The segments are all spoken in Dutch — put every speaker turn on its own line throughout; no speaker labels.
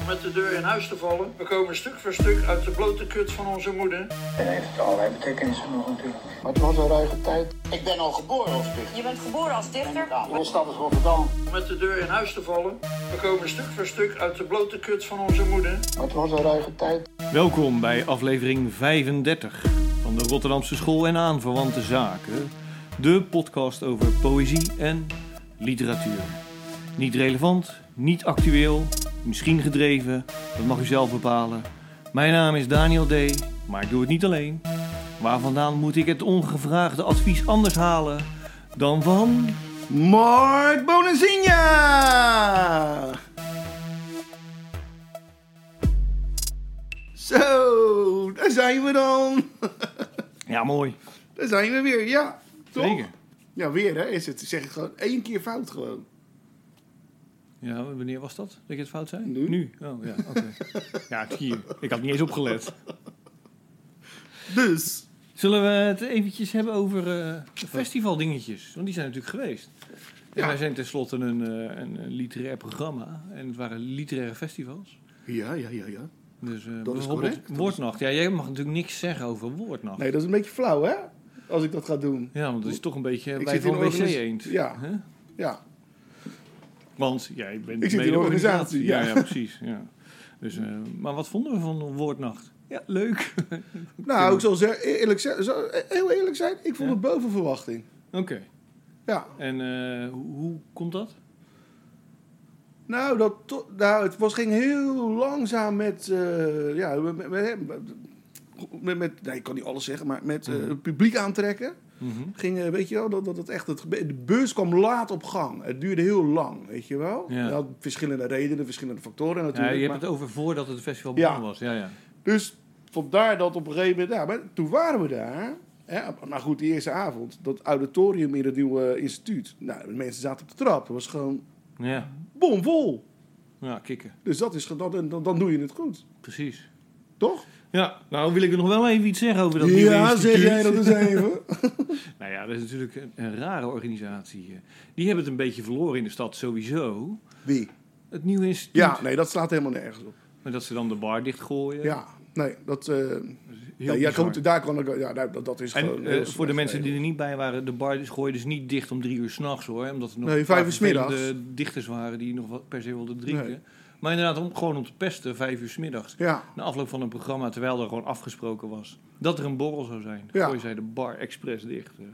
om met de deur in huis te vallen. We komen stuk voor stuk uit de blote kut van onze moeder.
En heeft allerlei betekenissen nog natuurlijk.
Maar het was een ruige tijd.
Ik ben al geboren als dichter.
Je bent geboren als dichter?
Mijn stad is Rotterdam.
Om met de deur in huis te vallen. We komen stuk voor stuk uit de blote kut van onze moeder.
Maar het was een ruige tijd.
Welkom bij aflevering 35 van de Rotterdamse School en aanverwante zaken. De podcast over poëzie en literatuur. Niet relevant, niet actueel, misschien gedreven, dat mag u zelf bepalen. Mijn naam is Daniel D., maar ik doe het niet alleen. Waar vandaan moet ik het ongevraagde advies anders halen dan van...
Mark Bonazinha! Zo, daar zijn we dan.
Ja, mooi.
Daar zijn we weer, ja. Toch?
Zeker.
Ja, weer hè, is het. Ik zeg het gewoon één keer fout gewoon.
Ja, wanneer was dat? Dat ik het fout zei?
Nu.
Oh, ja, oké. ja, hier. Ik had niet eens opgelet.
Dus,
Zullen we het eventjes hebben over eh, festivaldingetjes? Want die zijn natuurlijk geweest. En
Ja.
wij zijn tenslotte een, eh, een, een literair programma. En het waren literaire festivals.
ja, ja, ja, ja.
Dus eh,
is
bijvoorbeeld
correct. Dat
Woordnacht. Ja, jij mag natuurlijk niks zeggen over Woordnacht.
Nee, dat is een beetje flauw hè, als ik dat ga doen.
Ja, want dat is toch een beetje
Ik
bij
zit
van
in
WC
organis-
Eend.
Ja.
Hè?
Ja,
Want jij bent
Ik zit
mede-
in de organisatie,
Ja, ja,
ja.
precies. Ja. Dus, eh, maar wat vonden we van Woordnacht? Ja, leuk.
nou, ik zal zeggen, eerlijk zeggen, zal heel eerlijk zijn, ik vond
Ja.
het boven verwachting.
Oké.
Ja,
En eh, hoe, hoe komt dat?
Nou, dat to- nou, het was, ging heel langzaam met, eh, ja, met, met, met, met- nee, ik kan niet alles zeggen, maar met eh, het publiek aantrekken.
Mhm.
Ging, eh, weet je wel, dat, dat, dat echt, het, gebe- de beurs kwam laat op gang. Het duurde heel lang, weet je wel.
Ja.
Dat had verschillende redenen, verschillende factoren
Ja,
natuurlijk.
je hebt
maar-
het over voordat het festival begonnen
Ja.
was. Ja, ja.
Dus vandaar dat op een gegeven moment, ja, maar toen waren we daar. Hè, maar goed, die eerste avond, dat auditorium in het nieuwe instituut. Nou, de mensen zaten op de trap. Het was gewoon
Ja,
bomvol.
ja kikken.
Dus dat is, ge- dan, dan, dan doe je het goed,
Precies.
toch?
Ja, nou wil ik er nog wel even iets zeggen over dat nieuwe
ja,
instituut.
zeg jij dat eens even.
Nou ja, dat is natuurlijk een, een rare organisatie. eh. Die hebben het een beetje verloren in de stad sowieso.
Wie?
Het nieuwe instituut.
Ja, nee, dat slaat helemaal nergens op.
Maar dat ze dan de bar dichtgooien.
Ja, nee, dat... eh, ja,
bizar.
ja, goed, daar kan ik... Ja, daar- dat, dat is
En
dus gewoon...
eh,
heel
voor de
slecht.
mensen die er niet bij waren, de bar dus- gooide dus niet dicht om drie uur s'nachts hoor. Omdat er nog
Nee,
een paar
vijf uur 's middags.
vervelende dichters waren die nog wat per se wilden drinken.
Nee.
Maar inderdaad, om, gewoon om te pesten, vijf uur 's middags.
Ja,
Na afloop van een programma, terwijl er gewoon afgesproken was dat er een borrel zou zijn,
Ja.
gooien zij de bar expres dicht. eh.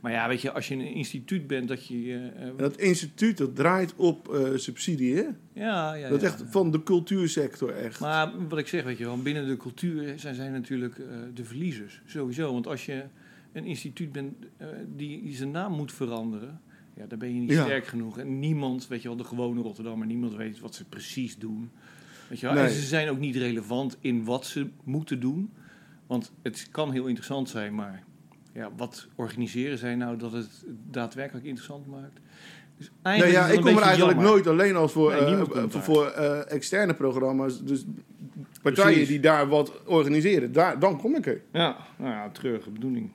Maar ja, weet je, als je in een instituut bent, dat je. eh, eh,
en dat instituut, dat draait op eh, subsidie, hè?
ja, ja,
Dat
ja.
is echt van de cultuursector, echt.
Maar wat ik zeg, weet je wel, binnen de cultuur zijn zij natuurlijk eh, de verliezers, sowieso. Want als je een instituut bent eh, die zijn naam moet veranderen, ja, dan ben je niet
Ja.
sterk genoeg. En niemand, weet je wel, de gewone Rotterdammer, niemand weet wat ze precies doen. Weet je wel? En
Nee.
ze zijn ook niet relevant in wat ze moeten doen. Want het kan heel interessant zijn, maar ja, wat organiseren zij nou dat het daadwerkelijk interessant maakt? Dus
Nee, ja,
is dat
ik
een
kom er
beetje
eigenlijk
jammer.
nooit alleen als voor,
Nee,
eh,
niemand komt
voor,
daar.
voor, eh, externe programma's. Dus partijen
Precies.
die daar wat organiseren, daar, dan kom ik er.
Ja, nou ja, treurige bedoeling.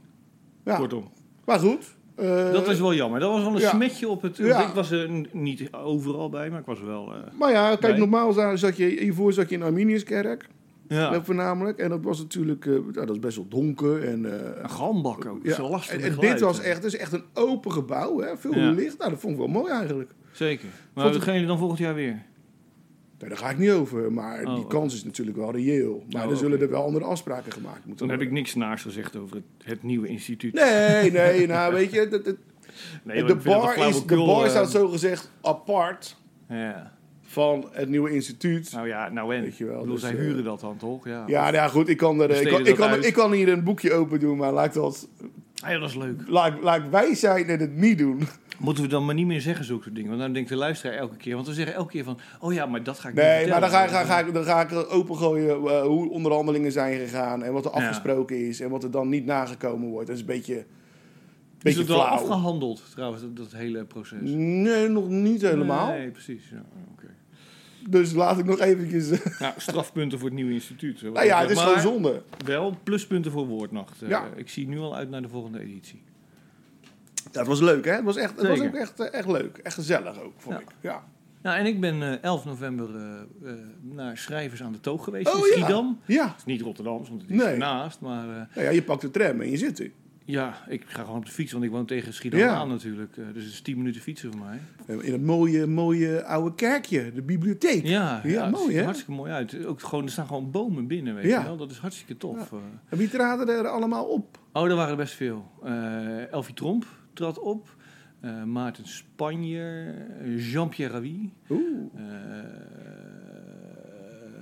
Ja.
Kortom.
Maar goed. eh,
Dat is wel jammer. Dat was wel een
ja.
smetje op het.
Ja.
Ik was er n- niet overal bij, maar ik was er wel. eh,
Maar ja, kijk,
Nee.
normaal za- zat je, hiervoor zat je in Arminiuskerk.
ja.
Eh, Voornamelijk. En dat was natuurlijk eh, nou, dat is best wel donker. En, eh,
Een galmbak ook.
ja.
Zo lastig.
en,
met
en dit
geluid,
was
hè.
echt, dus echt een open gebouw. Hè? Veel
Ja.
licht. Nou, dat vond ik wel mooi eigenlijk.
Zeker. Maar
Vond
dat gaan jullie dan volgend jaar weer.
Nee, daar ga ik niet over. Maar
Oh,
die
oké.
kans is natuurlijk wel reëel. Maar
Oh,
dan
oké.
zullen er wel andere afspraken gemaakt moeten
Dan heb ik
worden.
niks naars gezegd over het, het nieuwe instituut.
Nee, nee, nou weet je, dat, dat-
Nee, joh,
de,
ik vind het
bar
wel
is, de
flauwekul,
bar
eh,
staat zogezegd apart
Ja.
van het nieuwe instituut.
Nou ja, nou en.
Weet je wel,
Ik bedoel,
dus,
zij
eh,
huren dat dan toch? Ja.
ja, nou ja, goed, ik kan, er, eh, ik,
Besteden
kan, ik,
dat
kan,
uit.
ik kan hier een boekje open doen, maar laat, dat,
Ah, ja, dat is leuk.
laat, laat wij zijn en het niet doen.
Moeten we dan maar niet meer zeggen zulke dingen? Want dan denkt de luisteraar elke keer. Want we zeggen elke keer van. Oh ja, maar dat ga ik niet
Nee, maar dan ga,
vertellen.
ik- ga, ga, ik- dan ga ik opengooien eh, hoe onderhandelingen zijn gegaan en wat er
Ja.
afgesproken is en wat er dan niet nagekomen wordt. Dat is een beetje,
Is
beetje
het wel
flauw.
afgehandeld trouwens, dat, dat hele proces?
Nee, nog niet helemaal.
Nee, precies. Ja, oké.
Dus laat ik nog eventjes... eh,
Nou, strafpunten voor het nieuwe instituut.
nou ja, het is
Maar
gewoon zonde.
Wel pluspunten voor Woordnacht. Eh,
Ja.
Ik zie nu al uit naar de volgende editie.
Ja, het was leuk, hè? Het was, echt, het was
Zeker.
ook echt, eh, echt leuk. Echt gezellig ook, vond
Ja.
ik. Ja.
Nou, en ik ben eh, 11 november eh, eh, naar Schrijvers aan de Toog geweest
Oh,
in
ja.
Schiedam.
Ja.
Het is niet Rotterdam, want het is
Nee.
ernaast. Maar eh,
Nou ja, je pakt de tram en je zit er.
ja, ik ga gewoon op de fiets, want ik woon tegen Schiedam
Ja.
aan natuurlijk. Eh, dus het is 10 minuten fietsen voor mij.
In het mooie, mooie oude kerkje, de bibliotheek.
Ja,
ja,
het
mooi,
ziet er
hè?
hartstikke mooi uit. Ook gewoon, er staan gewoon bomen binnen, weet
Ja.
je wel. Dat is hartstikke tof. eh.
En wie traden er allemaal op?
Oh, er waren er best veel. Eh Elfie Tromp trad op. eh, Maarten Spanjer. eh, Jean-Pierre Ravi.
Oeh.
eh,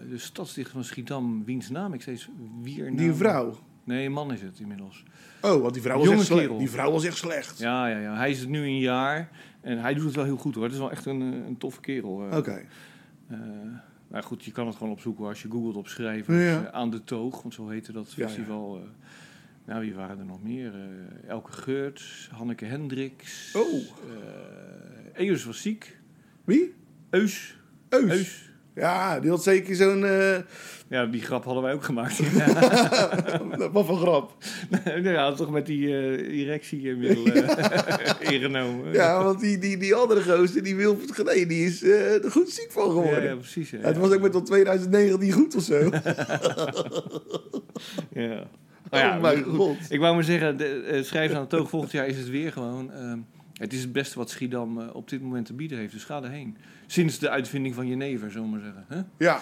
de stadsdichter van Schiedam, wiens naam ik steeds weer
Die vrouw.
Nee, een man is het inmiddels.
Oh, want die vrouw was
Jonge
echt slecht.
kerel.
Die vrouw was echt slecht.
Ja, ja, ja. Hij is het nu een jaar. En hij doet het wel heel goed hoor. Het is wel echt een, eh, een toffe kerel. eh.
Oké.
Eh, nou goed, je kan het gewoon opzoeken hoor. als je googelt op schrijvers
Ja.
eh, aan de toog, want zo heette
Ja,
dat
ja.
festival. eh. nou, wie waren er nog meer? Eh, Elke Geurts, Hanneke Hendricks.
Oh.
eh, Eus was ziek.
Wie?
Eus.
Eus.
Eus.
Ja, die had zeker zo'n... eh,
Ja, die grap hadden wij ook gemaakt. ja,
wat voor grap.
ja, toch met die eh erectiemiddel ingenomen.
Ja, want die, die, die andere gozer, die Wilfred Gené, die is eh, er goed ziek van geworden.
Ja, ja, precies. hè.
Het was ook met tot 2019 goed of zo.
Ja. Maar ja,
oh mijn
goed.
god.
Ik wou maar zeggen, de, eh, schrijvers aan de toog volgend jaar is het weer gewoon. ehm, het is het beste wat Schiedam eh, op dit moment te bieden heeft. Dus ga erheen. Sinds de uitvinding van Jenever, zullen we maar zeggen. hè?
Ja.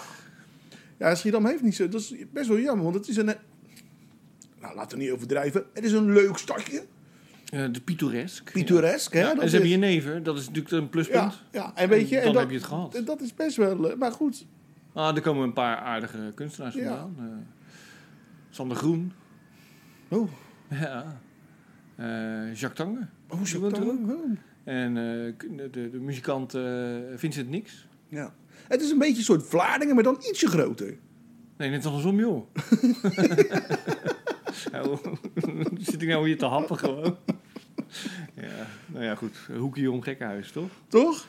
Ja, Schiedam heeft niet zo... Dat is best wel jammer, want het is een... eh, Nou, laten we niet overdrijven. Het is een leuk stadje.
Eh, de pittoresk.
Pittoresk, hè?
Ja, en
dat
ze
is-
hebben Jenever, dat is natuurlijk een
ja,
pluspunt.
ja, en weet je...
En
en
dan
dat,
heb je het gehad.
en Dat is best wel... eh, Maar goed,
Ah, er komen een paar aardige kunstenaars
Ja.
vandaan. Eh, Sander Groen.
Oh.
Ja. Eh, Jacques Tanger.
Oh,
Die woont er ook. En eh, kun- de, de, de muzikant eh, Vincent Nix.
Ja. Het is een beetje een soort Vlaardingen, maar dan ietsje groter.
Nee, net andersom, joh. Nou, Zit ik nou hier te happen gewoon? Ja, nou ja, goed. Hoekje om gekkenhuis, toch?
Toch?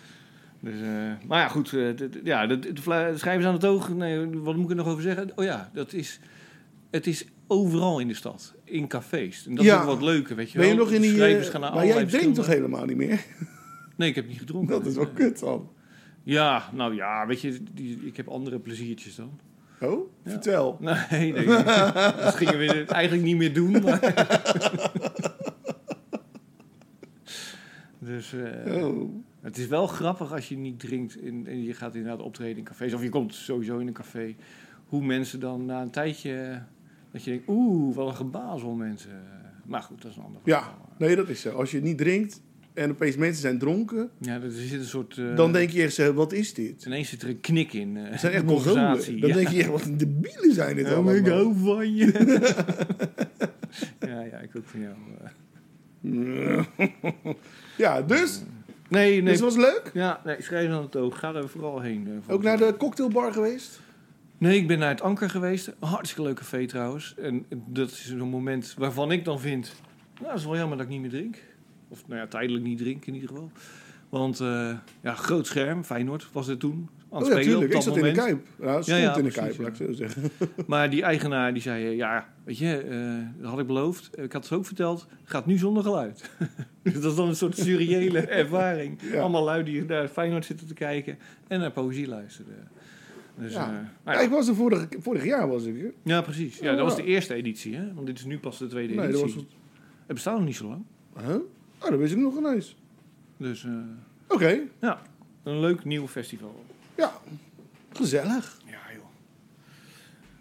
Dus, eh, maar ja, goed. eh, d- d- ja, de, de, vla- de schrijvers aan het oog. Nee, wat moet ik er nog over zeggen? Oh ja, dat is... Het is overal in de stad. In cafés. En dat
Ja.
is ook wat leuker, weet je
Ben
wel.
je nog in die... eh,
Schrijvers gaan naar
maar jij
allerlei
drinkt toch
verschillende-
helemaal niet meer?
Nee, ik heb niet gedronken.
Dat is wel
Nee.
kut dan.
Ja, nou ja, weet je, die, ik heb andere pleziertjes dan.
Oh, vertel.
Nee, nee, nee. dat gingen we eigenlijk niet meer doen. Maar... dus eh,
Oh.
het is wel grappig als je niet drinkt in, en je gaat inderdaad optreden in cafés. Of je komt sowieso in een café. Hoe mensen dan na een tijdje... eh, Dat je denkt, oeh, wat een gebazel mensen. Maar goed, dat is een ander
Ja,
verhaal.
nee, dat is zo. Als je niet drinkt en opeens mensen zijn dronken,
Ja, er zit een soort... eh,
dan denk je echt zo, wat is dit?
Ineens zit er een knik in. eh,
Het zijn echt
de
Mongolen.
conversatie.
Dan
Ja.
denk je echt, wat een debielen zijn dit
Oh, ik
allemaal.
hou van je. ja, ja, ik ook van jou. eh.
Ja, dus,
Nee, nee.
dus was leuk.
Ja, nee, schrijf aan het oog. Ga er vooral heen. eh, volgens
Ook naar
mij.
de cocktailbar geweest.
Nee, ik ben naar het Anker geweest. Hartstikke leuk café trouwens. En dat is een moment waarvan ik dan vind... Nou, dat is wel jammer dat ik niet meer drink. Of nou ja, tijdelijk niet drink in ieder geval. Want eh, ja, groot scherm, Feyenoord was het toen. Aan
Oh
het
ja,
spelen op
tuurlijk. Ik
dat
zat in de
moment.
Kuip. Ja, stond
Ja, ja,
in de
precies,
Kuip,
ja.
laat ik zo zeggen.
Maar die eigenaar die zei, eh, ja, weet je, eh, dat had ik beloofd. Ik had het ook verteld, het gaat nu zonder geluid. dus dat is dan een soort surreële ervaring.
Ja.
Allemaal lui die naar Feyenoord zitten te kijken en naar poëzie luisterden. Dus,
Ja.
eh,
Ja,
nou
ik
ja.
was er vorig, vorig jaar, was ik. hè?
ja, precies. Ja, dat
Ja.
was de eerste editie, hè? want dit is nu pas de tweede
Nee, dat
editie.
was het.
Het bestaat nog niet zo lang.
Huh? Oh, dat wist ik nog ineens.
Dus eh,
Oké,
ja, een leuk nieuw festival.
ja. Gezellig.
Ja, joh.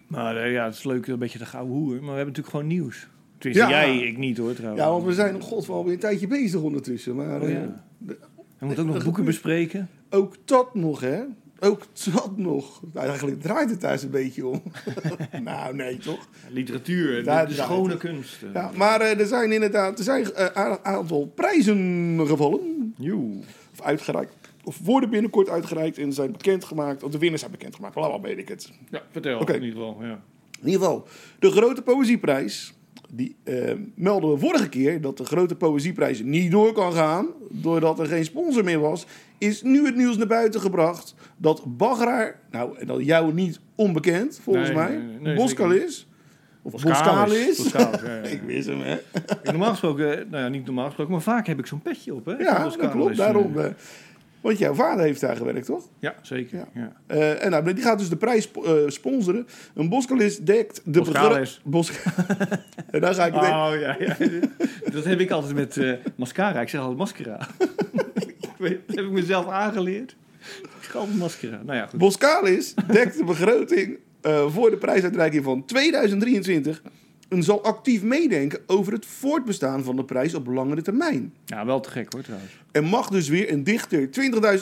Maar eh, ja, het is leuk, een beetje de gouden hoer. Maar we hebben natuurlijk gewoon nieuws. Tenminste,
Ja.
jij, ik niet hoor trouwens.
Ja, want we zijn, god, wel weer een tijdje bezig ondertussen. Maar
Oh,
eh,
ja. We moeten ook nog
dat
boeken
gebeurt.
bespreken.
ook dat nog, hè? Ook dat nog. Nou, eigenlijk draait het thuis een beetje om. nou, nee, toch?
Literatuur,
Daar
de, de
draait
schone
het.
kunst.
Ja, maar eh, er zijn inderdaad er zijn, eh, een aantal prijzen gevallen.
Joe.
Of uitgereikt. Of worden binnenkort uitgereikt en zijn bekendgemaakt. Of de winnaars zijn bekendgemaakt. Blablabla, weet ik het.
Ja, vertel
Oké.
in ieder geval. Ja.
In ieder geval, de Grote Poëzieprijs. Die eh, melden we vorige keer dat de Grote Poëzieprijs niet door kan gaan. doordat er geen sponsor meer was. Is nu het nieuws naar buiten gebracht dat Bagraar. nou, en dat jou niet onbekend volgens
Nee,
mij.
nee, nee, nee,
Boskalis. Of Boskalis.
Boskalis, ja, ja.
Ik wist hem, hè?
Normaal gesproken, eh, nou ja, niet normaal gesproken, maar vaak heb ik zo'n petje op. Hè,
Ja,
Boskalis,
dat klopt.
eh.
Daarom. eh. Want jouw vader heeft daar gewerkt, toch?
Ja, zeker. Ja.
Ja. Eh, en nou, die gaat dus de prijs eh, sponsoren. Een Boskalis dekt de
Boskalis.
begro- Bos- en dan ga ik denken,
Oh ja, ja. dat heb ik altijd met eh, mascara. Ik zeg altijd mascara. ik weet, dat heb ik mezelf aangeleerd. Ik zeg altijd mascara. Nou ja, goed.
Boskalis dekt de begroting eh, voor de prijsuitreiking van 2023 en zal actief meedenken over het voortbestaan van de prijs op langere termijn.
Ja, wel te gek hoor trouwens.
En mag dus weer een dichter 20.000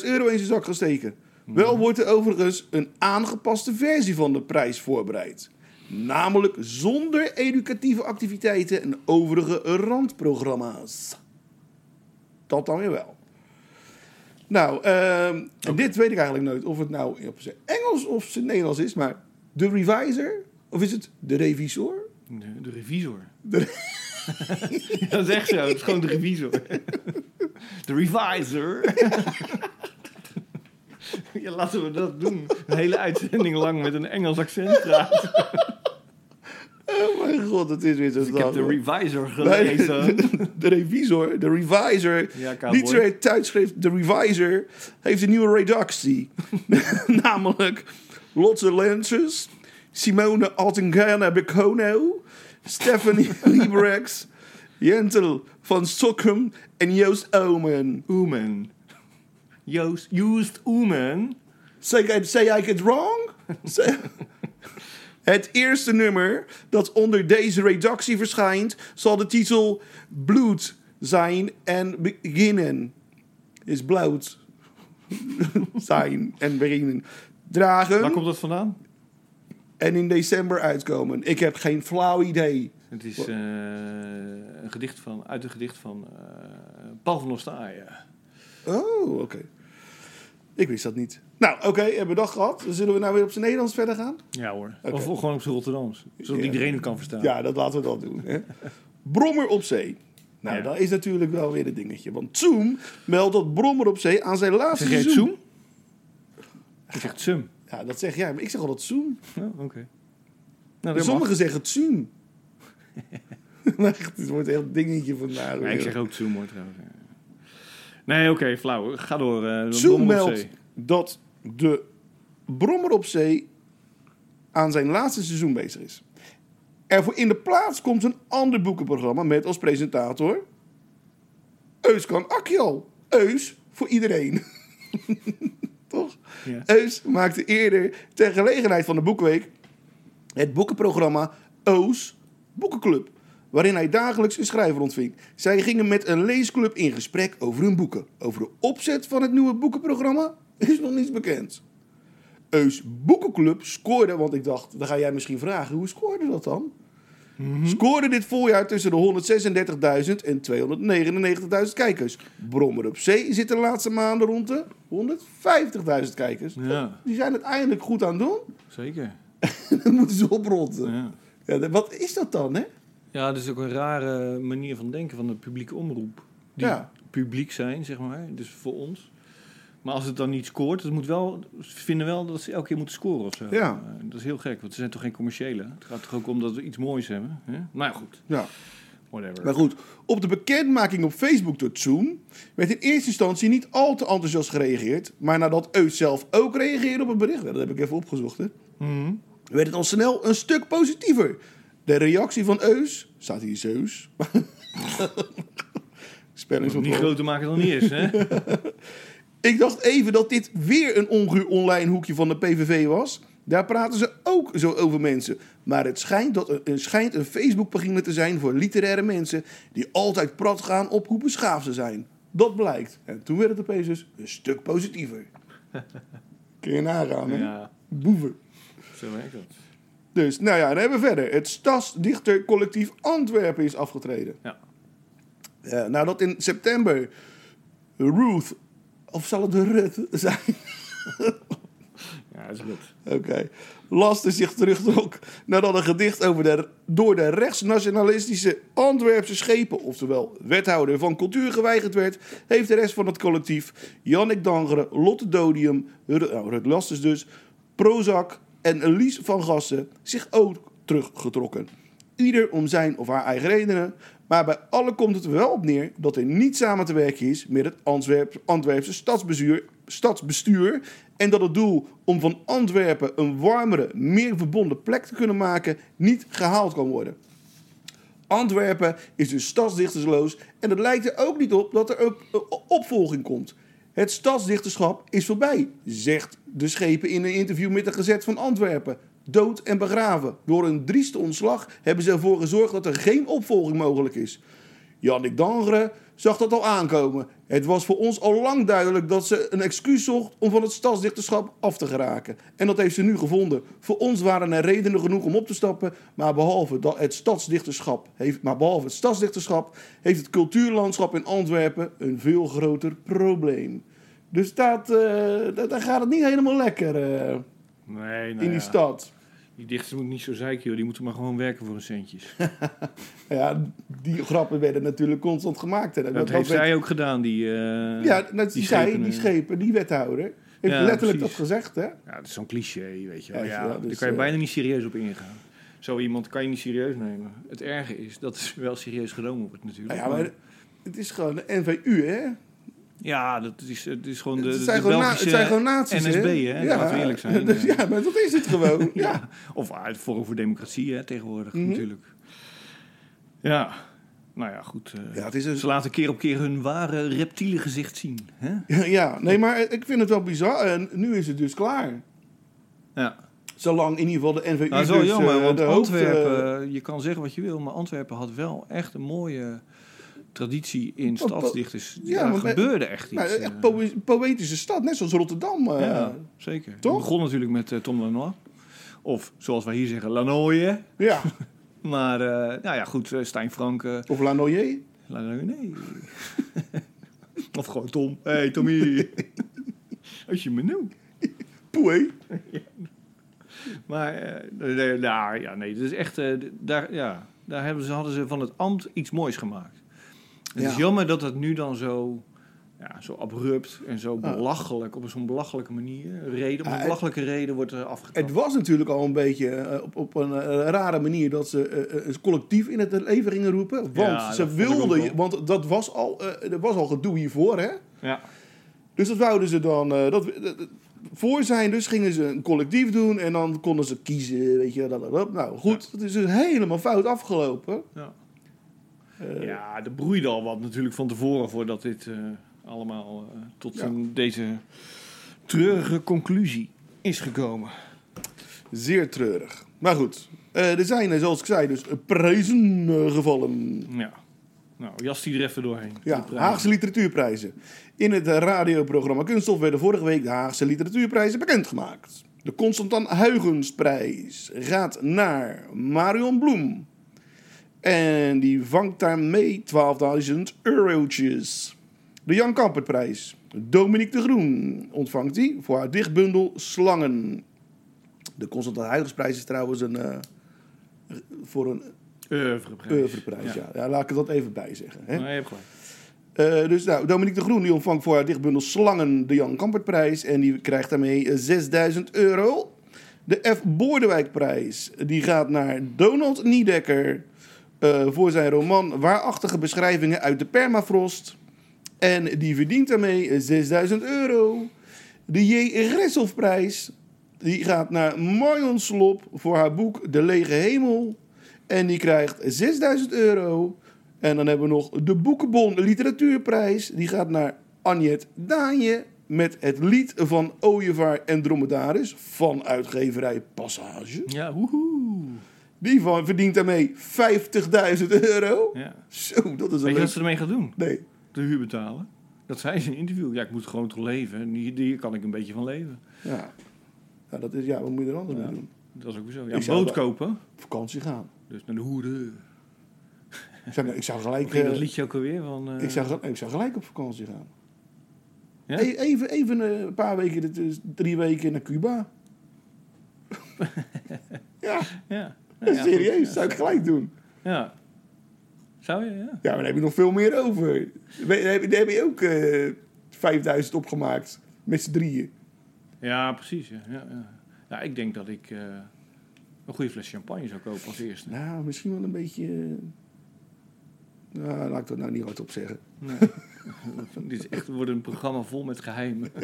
euro in zijn zak gaan steken.
Mhm.
Wel wordt er overigens een aangepaste versie van de prijs voorbereid. Namelijk zonder educatieve activiteiten en overige randprogramma's. Dat dan weer wel. Nou, ehm, en dit weet ik eigenlijk nooit of het nou op zijn Engels of zijn Nederlands is, maar de reviser, of is het de revisor?
De, de revisor. dat is echt zo. Het is gewoon de revisor. De revisor. ja, laten we dat doen. Een hele uitzending lang met een Engels accent praten.
Oh mijn god, het is weer zo'n
Ik heb
dag,
de
hoor.
revisor
Nee,
gelezen.
de, de revisor, de reviser,
Ja, cowboy.
literair tijdschrift De Reviser heeft een nieuwe redactie. Namelijk Lotte Lancers, Simone Altengana Becono, Stephanie Librex, Jentel van Sokkum en Joost Omen.
Oemen. Joost, Joost Oemen.
Say, I- say I it wrong? Say- Het eerste nummer dat onder deze redactie verschijnt, zal de titel Bloed zijn en beginnen. Is bloed zijn en beginnen.
Waar
Dragen
komt dat vandaan?
en in december uitkomen. Ik heb geen flauw idee.
Het is eh, een gedicht van, uit een gedicht van eh, Paul van Ostaaien.
Oh, oké. Ik wist dat niet. Nou, oké, hebben we dat gehad. Zullen we nou weer op zijn Nederlands verder gaan?
Ja hoor. Of gewoon op zijn Rotterdams. Zodat
Ja.
iedereen het kan verstaan.
Ja, dat laten we dan doen. Hè? Brommer op zee. Nou,
Ja.
dat is natuurlijk wel weer een dingetje. Want Zoom meldt dat Brommer op zee aan zijn laatste
Zeg jij het
seizoen-
Zoom? Je zegt Zoom.
Ja, dat zeg jij. Maar ik zeg altijd Zoom.
Oh, oké. Nou, dat mag.
Sommigen zeggen Zoom. het wordt echt een dingetje vandaag.
Ja, ik zeg ook Zoom hoor trouwens. Nee, oké, flauw. Ga door. eh
Zoom
Brommel op
meldt
zee.
dat de Brommer op zee aan zijn laatste seizoen bezig is. Er voor in de plaats komt een ander boekenprogramma met als presentator Euskan Akjal. Eus voor iedereen. Toch?
Ja.
Eus maakte eerder ter gelegenheid van de Boekenweek het boekenprogramma O's Boekenclub, waarin hij dagelijks een schrijver ontving. Zij gingen met een leesclub in gesprek over hun boeken. Over de opzet van het nieuwe boekenprogramma is nog niets bekend. Eus Boekenclub scoorde, want ik dacht, dan ga jij misschien vragen, hoe scoorde dat dan?
Mhm.
Scoorde dit voorjaar tussen de 136.000 en 299.000 kijkers. Brommer op Zee zit de laatste maanden rond de 150.000 kijkers.
Ja,
Die zijn het eindelijk goed aan het doen.
zeker.
Dan moeten ze opronden.
Ja.
Ja, de- wat is dat dan, hè?
ja, dat is ook een rare manier van denken van de publieke omroep. Die
Ja.
publiek zijn, zeg maar. Dus voor ons. Maar als het dan niet scoort, het moet wel, ze vinden wel dat ze elke keer moeten scoren of zo.
Ja.
Eh, dat is heel gek, want ze zijn toch geen commerciële? Het gaat toch ook om dat we iets moois hebben? Hè? Nou ja, goed,
Ja.
whatever.
Maar goed, op de bekendmaking op Facebook door Zoom werd in eerste instantie niet al te enthousiast gereageerd. Maar nadat Eus zelf ook reageerde op het bericht, dat heb ik even opgezocht, hè,
Mhm.
werd het al snel een stuk positiever. De reactie van Eus, staat hier Zeus?
Niet
Spellingsopdracht.
groter maken dan niet is, hè?
Ik dacht even dat dit weer een onguur online hoekje van de PVV was. Daar praten ze ook zo over mensen. Maar het schijnt, dat er, er schijnt een Facebookpagina te zijn voor literaire mensen... die altijd prat gaan op hoe beschaafd ze zijn. Dat blijkt. En toen werd het opeens dus een stuk positiever. Kun je nagaan, hè?
Ja,
Boeven.
zo werkt dat.
Dus, nou ja, dan hebben we verder. Het Stadsdichter Collectief Antwerpen is afgetreden.
Ja.
Eh, nadat in september Ruth... Of zal het de Ruth zijn?
Ja, dat is goed.
Oké. Laster zich terugtrok nadat een gedicht over de, door de rechtsnationalistische Antwerpse schepen, oftewel wethouder van cultuur, geweigerd werd, heeft de rest van het collectief Jannik Dangere, Lotte Dodium, Ru- nou, Rut Lasters dus, Prozac en Lies van Gassen zich ook teruggetrokken. Ieder om zijn of haar eigen redenen, maar bij allen komt het er wel op neer dat er niet samen te werken is met het Antwerp- Antwerpse stadsbestuur stadsbestuur. En dat het doel om van Antwerpen een warmere, meer verbonden plek te kunnen maken niet gehaald kan worden. Antwerpen is dus stadsdichtersloos en het lijkt er ook niet op dat er ook een opvolging komt. Het stadsdichterschap is voorbij, zegt de schepen in een interview met de Gazet van Antwerpen. Dood en begraven. Door een drieste ontslag hebben ze ervoor gezorgd dat er geen opvolging mogelijk is. Jannik Dangre zag dat al aankomen. Het was voor ons al lang duidelijk dat ze een excuus zocht om van het stadsdichterschap af te geraken. En dat heeft ze nu gevonden. Voor ons waren er redenen genoeg om op te stappen, maar behalve dat het stadsdichterschap heeft, maar behalve het stadsdichterschap heeft het cultuurlandschap in Antwerpen een veel groter probleem. Dus dat, eh, da- daar gaat het niet helemaal lekker eh,
Nee, nou
in die
ja.
stad.
Die dichter moet niet zo zeiken, joh. Die moeten maar gewoon werken voor een centjes.
Ja, die grappen werden natuurlijk constant gemaakt. Hè. Dat,
Dat
dat
heeft
werd-
zij ook gedaan, die... eh,
Ja, net die, zij,
schepen,
die
eh.
schepen, die wethouder. Heeft
Ja,
letterlijk
precies.
dat gezegd, hè?
Ja, dat is zo'n cliché, weet je wel.
Ja,
Ja,
ja, dus,
daar kan je
eh,
bijna niet serieus op ingaan. Zo iemand kan je niet serieus nemen. Het erge is dat het wel serieus genomen wordt natuurlijk.
Nou ja, maar het is gewoon de NVU, hè?
Ja, dat is, het is gewoon de,
Het
de,
zijn,
de
gewoon, na-
Belgische
het zijn gewoon nazi's,
NSB, hè? Laten we eerlijk zijn.
dus
Eh,
ja, maar dat is het gewoon. ja.
ja. Of uit Forum voor Democratie, hè, tegenwoordig
Mhm.
natuurlijk. Ja, nou ja, goed. eh,
Ja, het is een-
Ze laten keer op keer hun ware reptiele gezicht zien. Hè?
Ja, nee, maar ik vind het wel bizar. En nu is het dus klaar.
Ja.
Zolang in ieder geval de NVU
Nou, dat is
dus,
wel jammer,
eh,
want
de hoofd, eh,
Antwerpen, je kan zeggen wat je wil, maar Antwerpen had wel echt een mooie traditie in
po-
stadsdichters.
ja,
Ja,
want bij-
gebeurde echt iets.
nou, echt
eh.
poë- poëtische stad, net zoals Rotterdam. eh.
ja, zeker. Het
toch?
begon natuurlijk met eh, Tom Lanois. Of zoals wij hier zeggen, Lanoye.
ja.
Maar, eh, nou ja, goed, eh, Stijn Franke,
Of La Noyer.
Lanoye, nee. of gewoon Tom. Hé, hey, Tommy. Als je me noemt.
Poe.
Maar, eh, nee, nee, nou, ja, nee, dat is echt, eh, d- daar, ja, daar hebben ze, hadden ze van het ambt iets moois gemaakt. Het
Ja.
is jammer dat het nu dan zo, ja, zo abrupt en zo belachelijk, op zo'n belachelijke manier, reden, op
Ah,
een
het-
belachelijke reden wordt er
Het
afgetrapt.
was natuurlijk al een beetje eh, op, op een eh, rare manier dat ze eh, een collectief in het leven gingen roepen. Want
Ja, dat
ze
vond ik ook
wilden,
wel.
want dat was al, eh, er was al gedoe hiervoor, hè?
Ja,
Dus dat wouden ze dan. eh, dat, dat- dat- voor zijn, dus gingen ze een collectief doen en dan konden ze kiezen. Weet je, dat, dat, dat. Nou goed, dat is dus helemaal fout afgelopen. Eh,
ja, er broeide al wat natuurlijk van tevoren voordat dit eh, allemaal eh, tot
Ja.
een- deze treurige conclusie is gekomen.
Zeer treurig. Maar goed, eh, er zijn, eh, zoals ik zei, dus eh, prijzen eh, gevallen.
Ja, nou, jas die er even doorheen. Die
Ja,
prijzen.
Haagse literatuurprijzen. In het eh, radioprogramma Kunststof werden vorige week de Haagse literatuurprijzen bekendgemaakt. De Constantan Huygensprijs gaat naar Marion Bloem. En die vangt daarmee 12.000 eurotjes. De Jan Kampertprijs. Dominique de Groen ontvangt die voor haar dichtbundel Slangen. De Constantan Huygensprijs is trouwens een, eh, voor een
Oeuvreprijs.
oeuvreprijs. Ja. Ja. laat ik er dat even bij zeggen. Hè?
Nee, Nou, je hebt gelijk.
Eh, dus nou, Dominique de Groen die ontvangt voor haar dichtbundel Slangen de Jan Kampertprijs. En die krijgt daarmee eh, 6000 euro. De F. Boordewijkprijs die gaat naar Donald Niedekker. eh, voor zijn roman Waarachtige beschrijvingen uit de permafrost. En die verdient daarmee eh, 6000 euro. De J. Resselfprijs die gaat naar Marion Slop voor haar boek De Lege Hemel. En die krijgt 6000 euro. En dan hebben we nog de Boekenbon Literatuurprijs. Die gaat naar Anjet Daanje met het lied van Ooievaar en Dromedaris van uitgeverij Passage.
Ja, woehoe.
Die van, verdient daarmee 50.000 euro.
Ja.
Zo, dat is een
Weet je wat
leuk...
ze ermee gaan doen?
Nee.
De huur betalen. Dat zei ze in een interview. Ja, ik moet gewoon toch leven. En Hier, hier kan ik een beetje van leven.
Ja. Ja, dat is, ja, wat moet je er anders mee doen?
Dat is ook weer zo. Ja,
Ik
een
zou
boot
dat-
kopen.
Op vakantie gaan.
Dus naar de hoede.
Ik zou, ik zou
Ik
gelijk...
ging
eh,
dat liedje ook alweer van... eh,
ik, zou, gel- ik zou gelijk op vakantie gaan.
Ja?
E- Even, even eh, een paar weken, dit is drie weken naar Cuba. ja,
Ja. Nou Ja, ja,
serieus,
goed.
zou ik gelijk doen.
Ja. Ja. Zou je, ja.
Ja, maar daar heb je nog veel meer over. We- Daar heb je, daar heb je ook eh 5000 opgemaakt. Met z'n drieën.
Ja, precies. Ja, ja, ja. ja ik denk dat ik eh, een goede fles champagne zou kopen als eerste.
Nou, misschien wel een beetje... eh, Nou, laat ik dat nou niet hard op zeggen.
Nee. Dit is echt, wordt een programma vol met geheimen.
Oh.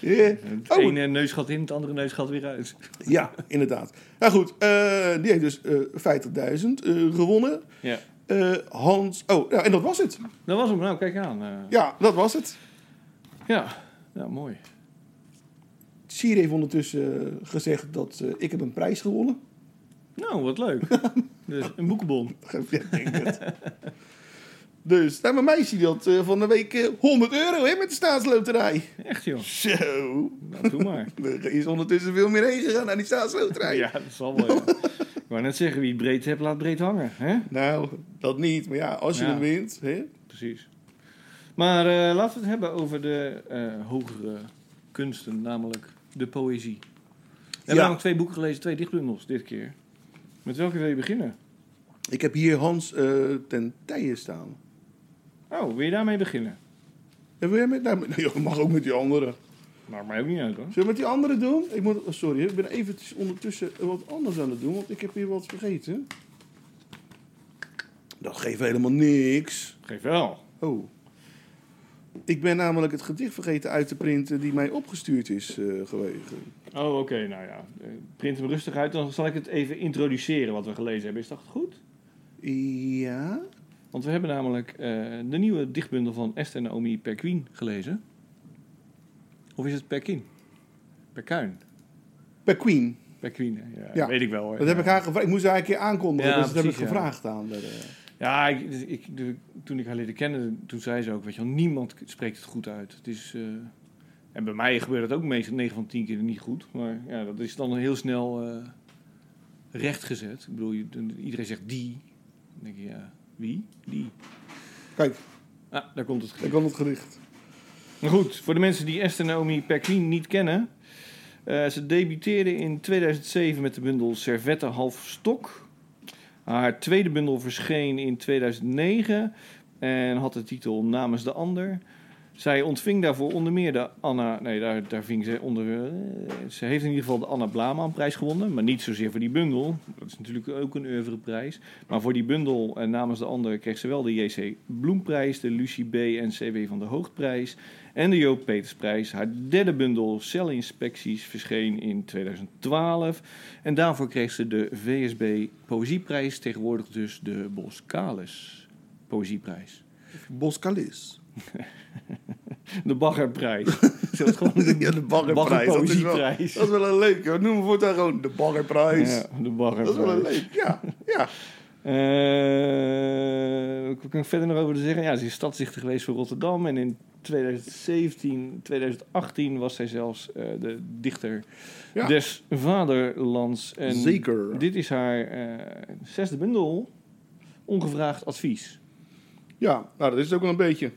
Ja.
Het
Oh,
ene neus gaat in, het andere neus gaat weer uit.
ja, inderdaad. Nou goed, eh, die heeft dus eh 50.000 eh, gewonnen.
Ja.
Eh, Hans. Oh, ja, en dat was het.
Dat was hem. Nou, kijk aan. eh.
Ja, dat was het.
ja. ja, mooi.
Sier heeft ondertussen eh, gezegd dat eh, ik heb een prijs gewonnen.
Nou, wat leuk. Dus een boekenbon.
Ja, ik denk het. dus, nou, mijn meisje die had eh, van de week eh, 100 euro hè, met de staatsloterij.
Echt, joh.
Zo.
Nou, doe maar.
Er is ondertussen veel meer heen gegaan naar die staatsloterij.
Ja, dat zal wel. ja. Ik wou net zeggen, wie het breed hebt, laat breed hangen. Hè?
Nou, dat niet. Maar ja, als je
Ja.
hem wint. Hè?
Precies. Maar eh, laten we het hebben over de eh, hogere kunsten, namelijk de poëzie. We
Ja.
hebben namelijk twee boeken gelezen, twee dichtbundels dit keer. Met welke wil je beginnen?
Ik heb hier Hans eh, ten Tijen staan.
Oh, wil je daarmee beginnen?
En wil jij met... Nou, nee, joh, mag ook met die andere.
Maakt mij ook niet uit hoor.
Zullen we met die andere doen? Ik moet, oh, sorry, ik ben even tuss- ondertussen wat anders aan het doen, want ik heb hier wat vergeten. Dat geeft helemaal niks.
Geef wel.
Oh. Ik ben namelijk het gedicht vergeten uit te printen die mij opgestuurd is eh geweest.
Oh, oké, nou ja. Eh, Print hem rustig uit, dan zal ik het even introduceren wat we gelezen hebben. Is dat goed?
Ja?
Want we hebben namelijk eh, de nieuwe dichtbundel van Esther Naomi Perquin gelezen. Of is het Perkin? Perkuin?
Per Queen.
Perquin, hè? ja,
Ja,
weet ik wel hoor.
Dat heb ik
Ja.
haar gevraagd. Ik moest haar een keer aankondigen,
Ja,
dus dat
precies,
heb ik
ja.
gevraagd aan. haar, eh.
Ja, ik, dus ik, de- toen ik haar leerde kennen, toen zei ze ook, weet je wel, niemand k- spreekt het goed uit. Het is, eh, en bij mij gebeurt dat ook meestal 9 van 10 keer niet goed. Maar ja, dat is dan heel snel eh, rechtgezet. Ik bedoel, je- dan- iedereen zegt die. Dan denk je, ja, wie? Die.
Kijk,
Ah, daar komt het
daar
gedicht.
kwam het gedicht.
Maar goed, voor de mensen die Esther Naomi Perquin niet kennen. eh, ze debuteerde in 2007 met de bundel Servetten half stok. Haar tweede bundel verscheen in 2009 en had de titel Namens de Ander. Zij ontving daarvoor onder meer de Anna... Nee, daar, daar ving ze onder... eh, ze heeft in ieder geval de Anna Blaman-prijs gewonnen. Maar niet zozeer voor die bundel. Dat is natuurlijk ook een oeuvreprijs. Maar voor die bundel en namens de ander kreeg ze wel de J.C. Bloemprijs... de Lucie B. en C.W. van der Hoogtprijs... en de Joop Petersprijs. Haar derde bundel Celinspecties verscheen in 2012. En daarvoor kreeg ze de VSB Poëzieprijs. Tegenwoordig dus de Boskalis Poëzieprijs.
Boscalis.
De Baggerprijs. Zullen we het gewoon
Ja, de baggerprijs. Dat is, wel, dat
Baggerpoëzieprijs.
is wel een leuke. hoor. Noem hem voortaan gewoon de baggerprijs.
Ja, de
Dat is wel een
Baggerprijs.
leuk. Ja, ja.
Eh, Wat kan ik verder nog over te zeggen? Ja, ze is stadsdichter geweest voor Rotterdam. En in 2017, 2018 was zij zelfs eh, de dichter
Ja.
des vaderlands. En
Zeker.
Dit is haar eh, zesde bundel. Ongevraagd advies.
Ja, nou dat is het ook wel een beetje.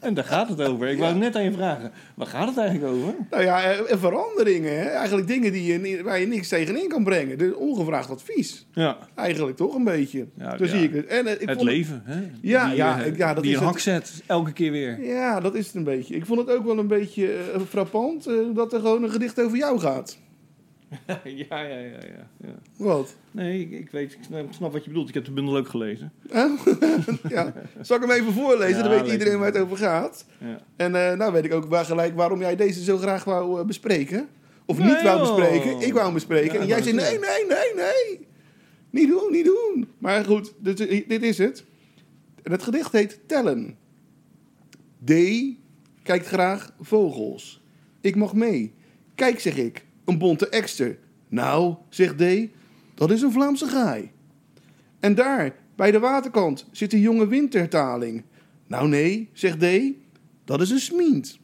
En daar gaat het over. Ik wou net aan je vragen. Waar gaat het eigenlijk over?
Nou ja, eh, veranderingen. Hè? Eigenlijk dingen die je, ni- waar je niks tegen in kan brengen. Dus ongevraagd advies.
Ja,
Eigenlijk toch een beetje.
Ja,
Zo
ja.
zie ik het. En, eh, ik
het
vond
leven. Hè?
Ja,
die,
ja,
eh,
ik- ja, dat
die
is
een hak
het.
zet. Elke keer weer.
Ja, dat is het een beetje. Ik vond het ook wel een beetje eh, frappant eh, dat er gewoon een gedicht over jou gaat.
ja, ja, ja, ja, ja.
Wat?
Nee, ik, ik weet, ik snap, snap wat je bedoelt. Ik heb de bundel ook gelezen.
Huh? ja. Zal ik hem even voorlezen?
Ja,
Dan weet
lees
iedereen
hem.
waar het over gaat.
Ja.
En eh, nou weet ik ook waar gelijk waarom jij deze zo graag wou eh, bespreken. Of
Nee,
niet wou
joh.
bespreken. Ik wou hem bespreken.
Ja,
en jij
dat
zei
is
nee, nee, nee, nee. Niet doen, niet doen. Maar goed, dit, dit is het. En het gedicht heet Tellen. D. Kijkt graag vogels. Ik mag mee. Kijk, zeg ik. Een bonte ekster. Nou, zegt D. Dat is een Vlaamse gaai. En daar, bij de waterkant, zit een jonge wintertaling. Nou nee, zegt D, dat is een smient.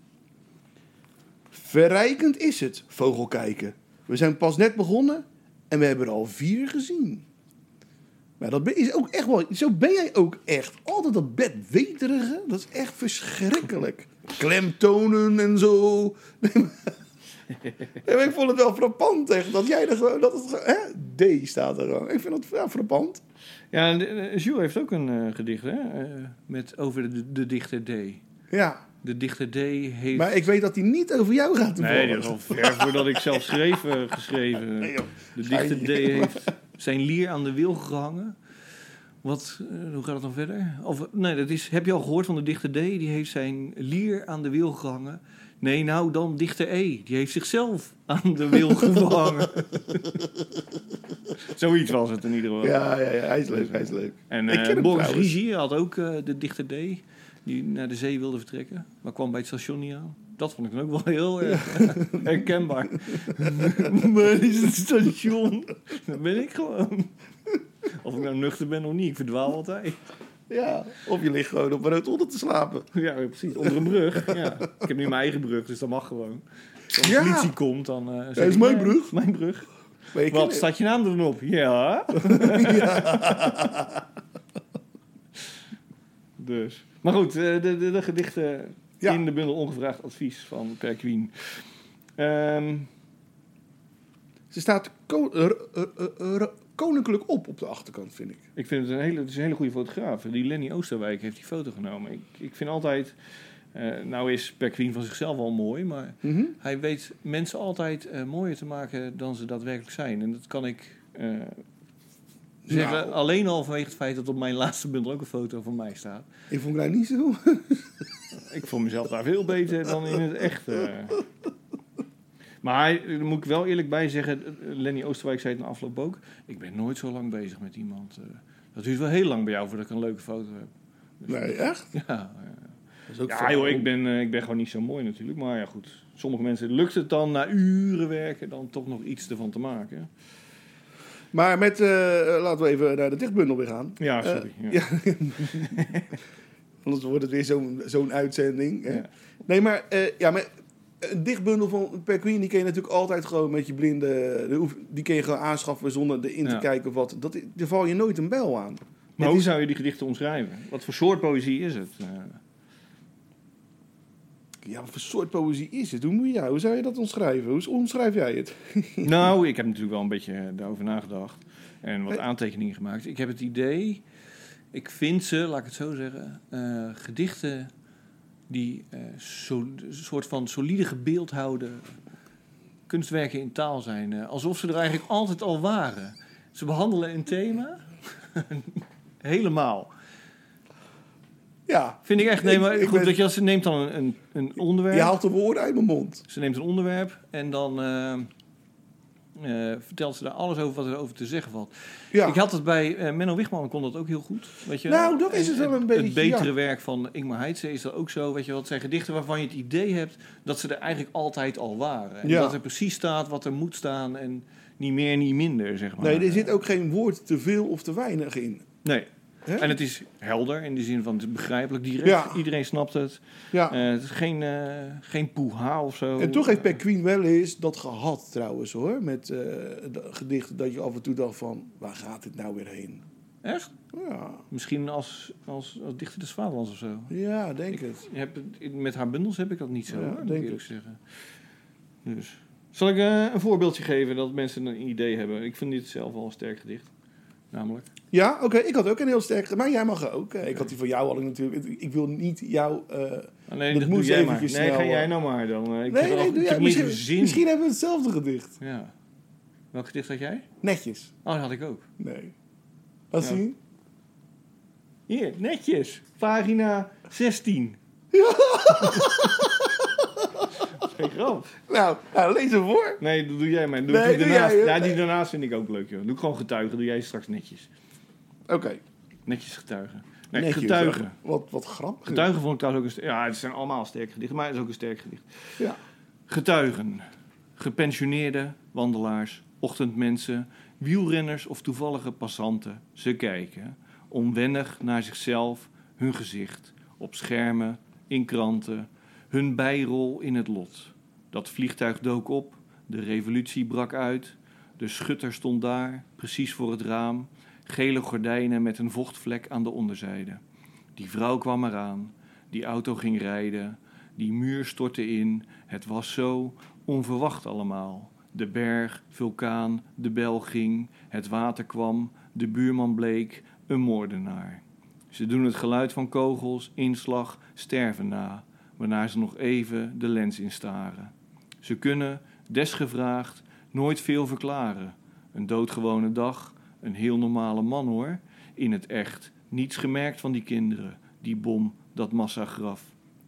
Verrijkend is het, vogelkijken. We zijn pas net begonnen en we hebben er al vier gezien. Maar dat is ook echt wel... Zo ben jij ook echt. Altijd dat bedweterige, dat is echt verschrikkelijk. Klemtonen en zo. Nee, maar- Nee, maar ik vond het wel frappant echt. Dat jij er gewoon... Dat het, gewoon- hè? D staat er gewoon. Ik vind dat ja, frappant.
Ja, en, eh, Jules heeft ook een eh, gedicht, hè? eh, met over de, de dichter D.
Ja,
De dichter D heeft...
maar ik weet dat hij niet over jou gaat. toevallig.
Nee, dat is al ver voordat ik zelf schreef eh, geschreven.
Nee, joh.
De dichter D heeft zijn lier aan de wil gehangen. Wat, eh, hoe gaat het dan verder? Of, nee, dat is, heb je al gehoord van de dichter D? Die heeft zijn lier aan de wiel gehangen. Nee, nou dan dichter E. Die heeft zichzelf aan de wiel gehangen. Zoiets was het in ieder geval.
Ja, ja, ja, hij is leuk, hij is leuk.
En
Ik ken
eh
hem
Boris
trouwens.
Rigi had ook eh, de dichter D. Die naar de zee wilde vertrekken. Maar kwam bij het station niet aan. Dat vond ik dan ook wel heel erg eh, herkenbaar. maar is het station? Dat ben ik gewoon. Of ik nou nuchter ben of niet. Ik verdwaal altijd.
Ja, of je ligt gewoon op een rood onder te slapen.
Ja, precies. Onder een brug. Ja. Ik heb nu mijn eigen brug, dus dat mag gewoon. Als
Ja.
de politie komt, dan... eh, zeg
is
ik,
mijn
nee,
brug.
is Mijn brug.
Maar je
Wat,
kan-
staat je naam er dan op? Ja. dus. Maar goed, eh, de, de, de gedichten
Ja.
in de bundel Ongevraagd Advies van Perquin. Ehm
Ze staat ko- eh, eh, eh, eh, koninklijk op op de achterkant, vind ik.
Ik vind het een hele, het is een hele goede fotograaf. Die Lenny Oosterwijk heeft die foto genomen. Ik, ik vind altijd... eh, nou is Perquin van zichzelf al mooi, maar hij weet mensen altijd eh, mooier te maken dan ze daadwerkelijk zijn. En dat kan ik eh, zeggen
Nou.
alleen al vanwege het feit dat op mijn laatste bundel ook een foto van mij staat.
Ik vond het nou niet zo.
Ik vond mezelf daar veel beter dan in het echte. Maar hij- daar moet ik wel eerlijk bij zeggen, Lenny Oosterwijk zei het na afloop ook, ik ben nooit zo lang bezig met iemand. eh. Dat duurt wel heel lang bij jou voordat ik een leuke foto heb.
Nee, echt?
Ja,
Dat is ook
ja
fijn.
joh, ik ben, eh, ik ben gewoon niet zo mooi natuurlijk. Maar ja, goed. Sommige mensen lukt het dan na uren werken dan toch nog iets ervan te maken.
Maar met, eh, laten we even naar de dichtbundel weer gaan.
Ja, sorry.
Eh,
ja.
Anders wordt het weer zo'n zo'n uitzending. Hè?
Ja.
Nee, maar, eh, ja, maar een dichtbundel van Perquin, die kun je natuurlijk altijd gewoon met je blinde... die hoef- Die kun je gewoon aanschaffen zonder erin te
Ja.
kijken of wat. Dat, is- daar val je nooit een bel aan.
Maar
Het
hoe
is-
zou je die gedichten omschrijven? Wat voor soort poëzie is het? Eh,
Ja, wat voor soort poëzie is het? Hoe, moet je, ja, hoe zou je dat omschrijven? Hoe omschrijf jij het?
Nou, ik heb natuurlijk wel een beetje eh, daarover nagedacht. En wat aantekeningen gemaakt. Ik heb het idee, ik vind ze, laat ik het zo zeggen, eh, gedichten die eh, zo- een soort van solide gebeeldhouwde kunstwerken in taal zijn. eh, alsof ze er eigenlijk altijd al waren. Ze behandelen een thema helemaal.
Ja,
Vind ik echt, nee,
Ik-
maar
ik
goed,
ben-
dat je, als- ze neemt dan een, een, een onderwerp.
je haalt de woorden uit mijn mond.
Ze neemt een onderwerp en dan eh, eh, vertelt ze daar alles over wat er over te zeggen valt.
Ja.
Ik had het bij eh, Menno Wichman, kon dat ook heel goed. Weet je,
Nou, dat is het wel een beetje,
Het betere
ja.
werk van Ingmar Heitse is dat ook zo. Weet je, wat zijn gedichten waarvan je het idee hebt dat ze er eigenlijk altijd al waren. En
Ja.
dat er precies staat wat er moet staan en niet meer, niet minder, zeg maar.
Nee, er zit ook geen woord te veel of te weinig in.
Nee.
Hè?
En het is helder in de zin van het is begrijpelijk, direct.
Ja.
Iedereen snapt het.
ja.
Eh, het is geen, eh geen poeha of zo.
En toch heeft
Eh,
Perquin wel eens dat gehad trouwens hoor. Met eh de gedichten dat je af en toe dacht van... waar gaat dit nou weer heen?
Echt?
Ja,
Misschien als, als, als dichter des Vaderlands of zo.
ja denk het.
Ik heb, het- met haar bundels heb ik dat niet zo,
Ja,
hoor, moet
denk
ik eerlijk zeggen. Dus. Zal ik eh, een voorbeeldje geven dat mensen een idee hebben? Ik vind dit zelf al een sterk gedicht. Namelijk.
Ja, oké. ik had ook een heel sterk... Maar jij mag ook. Eh, Ik had die van jou al natuurlijk. Ik wil niet jou... eh,
Ah, nee,
Dat
dat,
moet
doe jij maar. Nee,
eventjes snel,
ga
eh.
jij nou maar dan. eh, Ik
Nee,
heb
nee,
al-
doe
ik
jij.
heb niet eens
Misschien,
zin.
misschien hebben we hetzelfde gedicht.
Ja. Welk gedicht had jij?
Netjes.
Oh, dat had ik ook.
Nee. Laat
Ja.
zien.
Hier, netjes. Pagina 16. Ja. Geen grap.
Nou, nou, lees hem voor.
Nee, dat doe jij maar. Doe
Nee,
die
doe
daarnaast.
jij, hè?
ja, die daarnaast vind ik ook leuk, joh. Doe ik gewoon getuigen. Doe jij straks netjes.
Oké.
Netjes getuigen. Nee,
Netjes.
getuigen.
Wat, wat grappig.
Getuigen vond ik trouwens ook een... ster- Ja, het zijn allemaal sterke gedichten, maar het is ook een sterk gedicht.
Ja.
Getuigen. Gepensioneerde wandelaars, ochtendmensen, wielrenners of toevallige passanten. Ze kijken, onwennig naar zichzelf, hun gezicht, op schermen, in kranten, hun bijrol in het lot. Dat vliegtuig dook op, de revolutie brak uit, de schutter stond daar, precies voor het raam, gele gordijnen met een vochtvlek aan de onderzijde. Die vrouw kwam eraan, die auto ging rijden, die muur stortte in. Het was zo onverwacht allemaal. De berg, vulkaan, de bel ging, het water kwam, de buurman bleek, een moordenaar. Ze doen het geluid van kogels, inslag, sterven na, waarna ze nog even de lens instaren. Ze kunnen, desgevraagd, nooit veel verklaren. Een doodgewone dag, een heel normale man hoor. in het echt. Niets gemerkt van die kinderen, die bom, dat massagraf.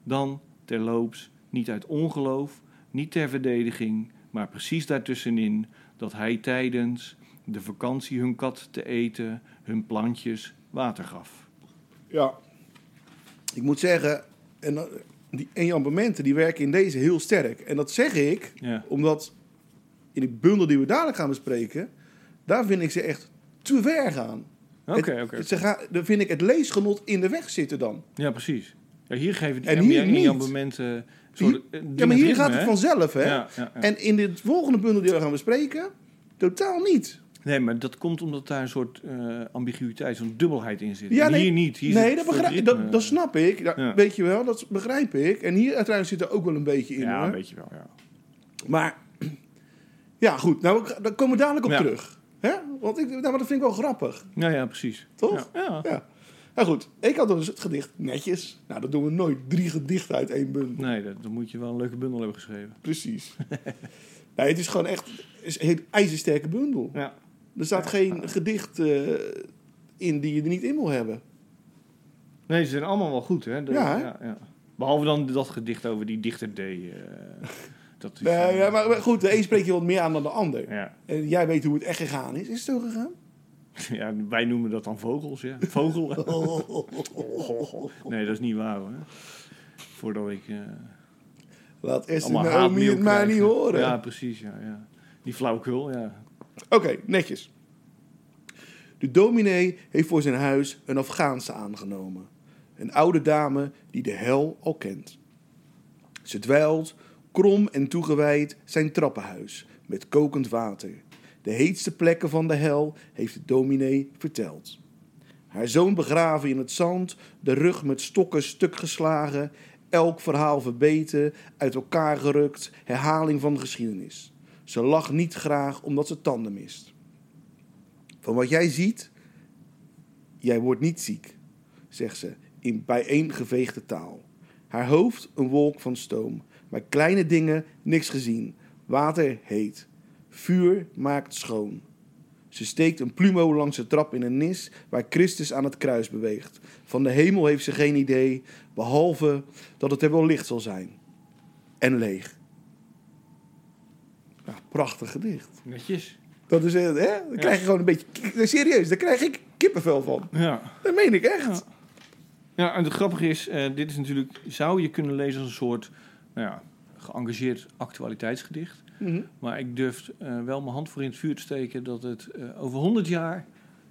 Dan, terloops, niet uit ongeloof, niet ter verdediging, maar precies daartussenin dat hij tijdens de vakantie hun kat te eten, hun plantjes water gaf.
Ja. Ik moet zeggen, en, dan- die enjambementen die werken in deze heel sterk. En dat zeg ik
Ja.
omdat in die bundel die we dadelijk gaan bespreken, daar vind ik ze echt te ver gaan.
Oké,
Het-
oké.
ze gaan- Dan vind ik het leesgenot in de weg zitten dan.
Ja, precies. Ja, hier geven die
En hier
NBA
niet.
enjambementen...
Hier-
eh,
ja, maar hier gaat het vanzelf, hè?
Ja, ja, ja.
En in de volgende bundel die we gaan bespreken, totaal niet.
Nee, maar dat komt omdat daar een soort eh, ambiguïteit, zo'n dubbelheid in zit.
Ja,
En
nee.
hier niet. Hier
nee,
zit
dat,
het
begrijp,
ritme.
dat, dat snap ik. Ja,
Ja.
Weet je wel, dat begrijp ik. En hier uiteindelijk zit er ook wel een beetje in,
Ja,
hoor.
weet je wel, ja.
Maar ja, goed. Nou, ik- daar komen we dadelijk op
Ja.
terug. Hè? Want ik, nou, maar dat vind ik wel grappig,
Ja, ja, precies.
toch?
Ja, ja.
ja. Nou goed, ik had dus het gedicht netjes. Nou, dat doen we nooit. Drie gedichten uit één bundel.
Nee, dat, dan moet je wel een leuke bundel hebben geschreven.
Precies. nee, het is gewoon echt het is een hele ijzersterke bundel.
Ja.
Er staat geen gedicht eh, in die je er niet in wil hebben.
Nee, ze zijn allemaal wel goed, hè? De-
Ja, hè?
Behalve dan dat gedicht over die dichter D. eh, dat is,
Nee,
eh,
ja, maar, maar goed, de een spreekt je wat meer aan dan de ander.
Ja.
En jij weet hoe het echt gegaan is. Is het zo gegaan?
ja, wij noemen dat dan vogels, ja. Vogel. nee, dat is niet waar, hoor. Voordat ik... eh
Laat Esther
allemaal haat
Naomi het maar
krijg.
nou niet horen.
Ja, precies, ja. ja. Die flauwkul, ja.
Oké, netjes. De dominee heeft voor zijn huis een Afghaanse aangenomen. Een oude dame die de hel al kent. Ze dweilt, krom en toegewijd, zijn trappenhuis met kokend water. De heetste plekken van de hel heeft de dominee verteld. Haar zoon begraven in het zand, de rug met stokken stuk geslagen, elk verhaal verbeten, uit elkaar gerukt, herhaling van geschiedenis. Ze lacht niet graag omdat ze tanden mist. Van wat jij ziet, jij wordt niet ziek, zegt ze in bijeengeveegde taal. Haar hoofd een wolk van stoom, maar kleine dingen niks gezien. Water heet, vuur maakt schoon. Ze steekt een plumo langs de trap in een nis waar Christus aan het kruis beweegt. Van de hemel heeft ze geen idee, behalve dat het er wel licht zal zijn. En leeg. Ja, prachtig gedicht.
Netjes.
Dat is, echt, hè? Dan krijg je gewoon een beetje... Nee, serieus, daar krijg ik kippenvel van.
Ja.
Dat meen ik echt.
Ja, en het grappige is, eh, dit is natuurlijk, zou je kunnen lezen als een soort, nou ja, geëngageerd actualiteitsgedicht.
Mhm.
Maar ik durf eh, wel mijn hand voor in het vuur te steken dat het eh, over 100 jaar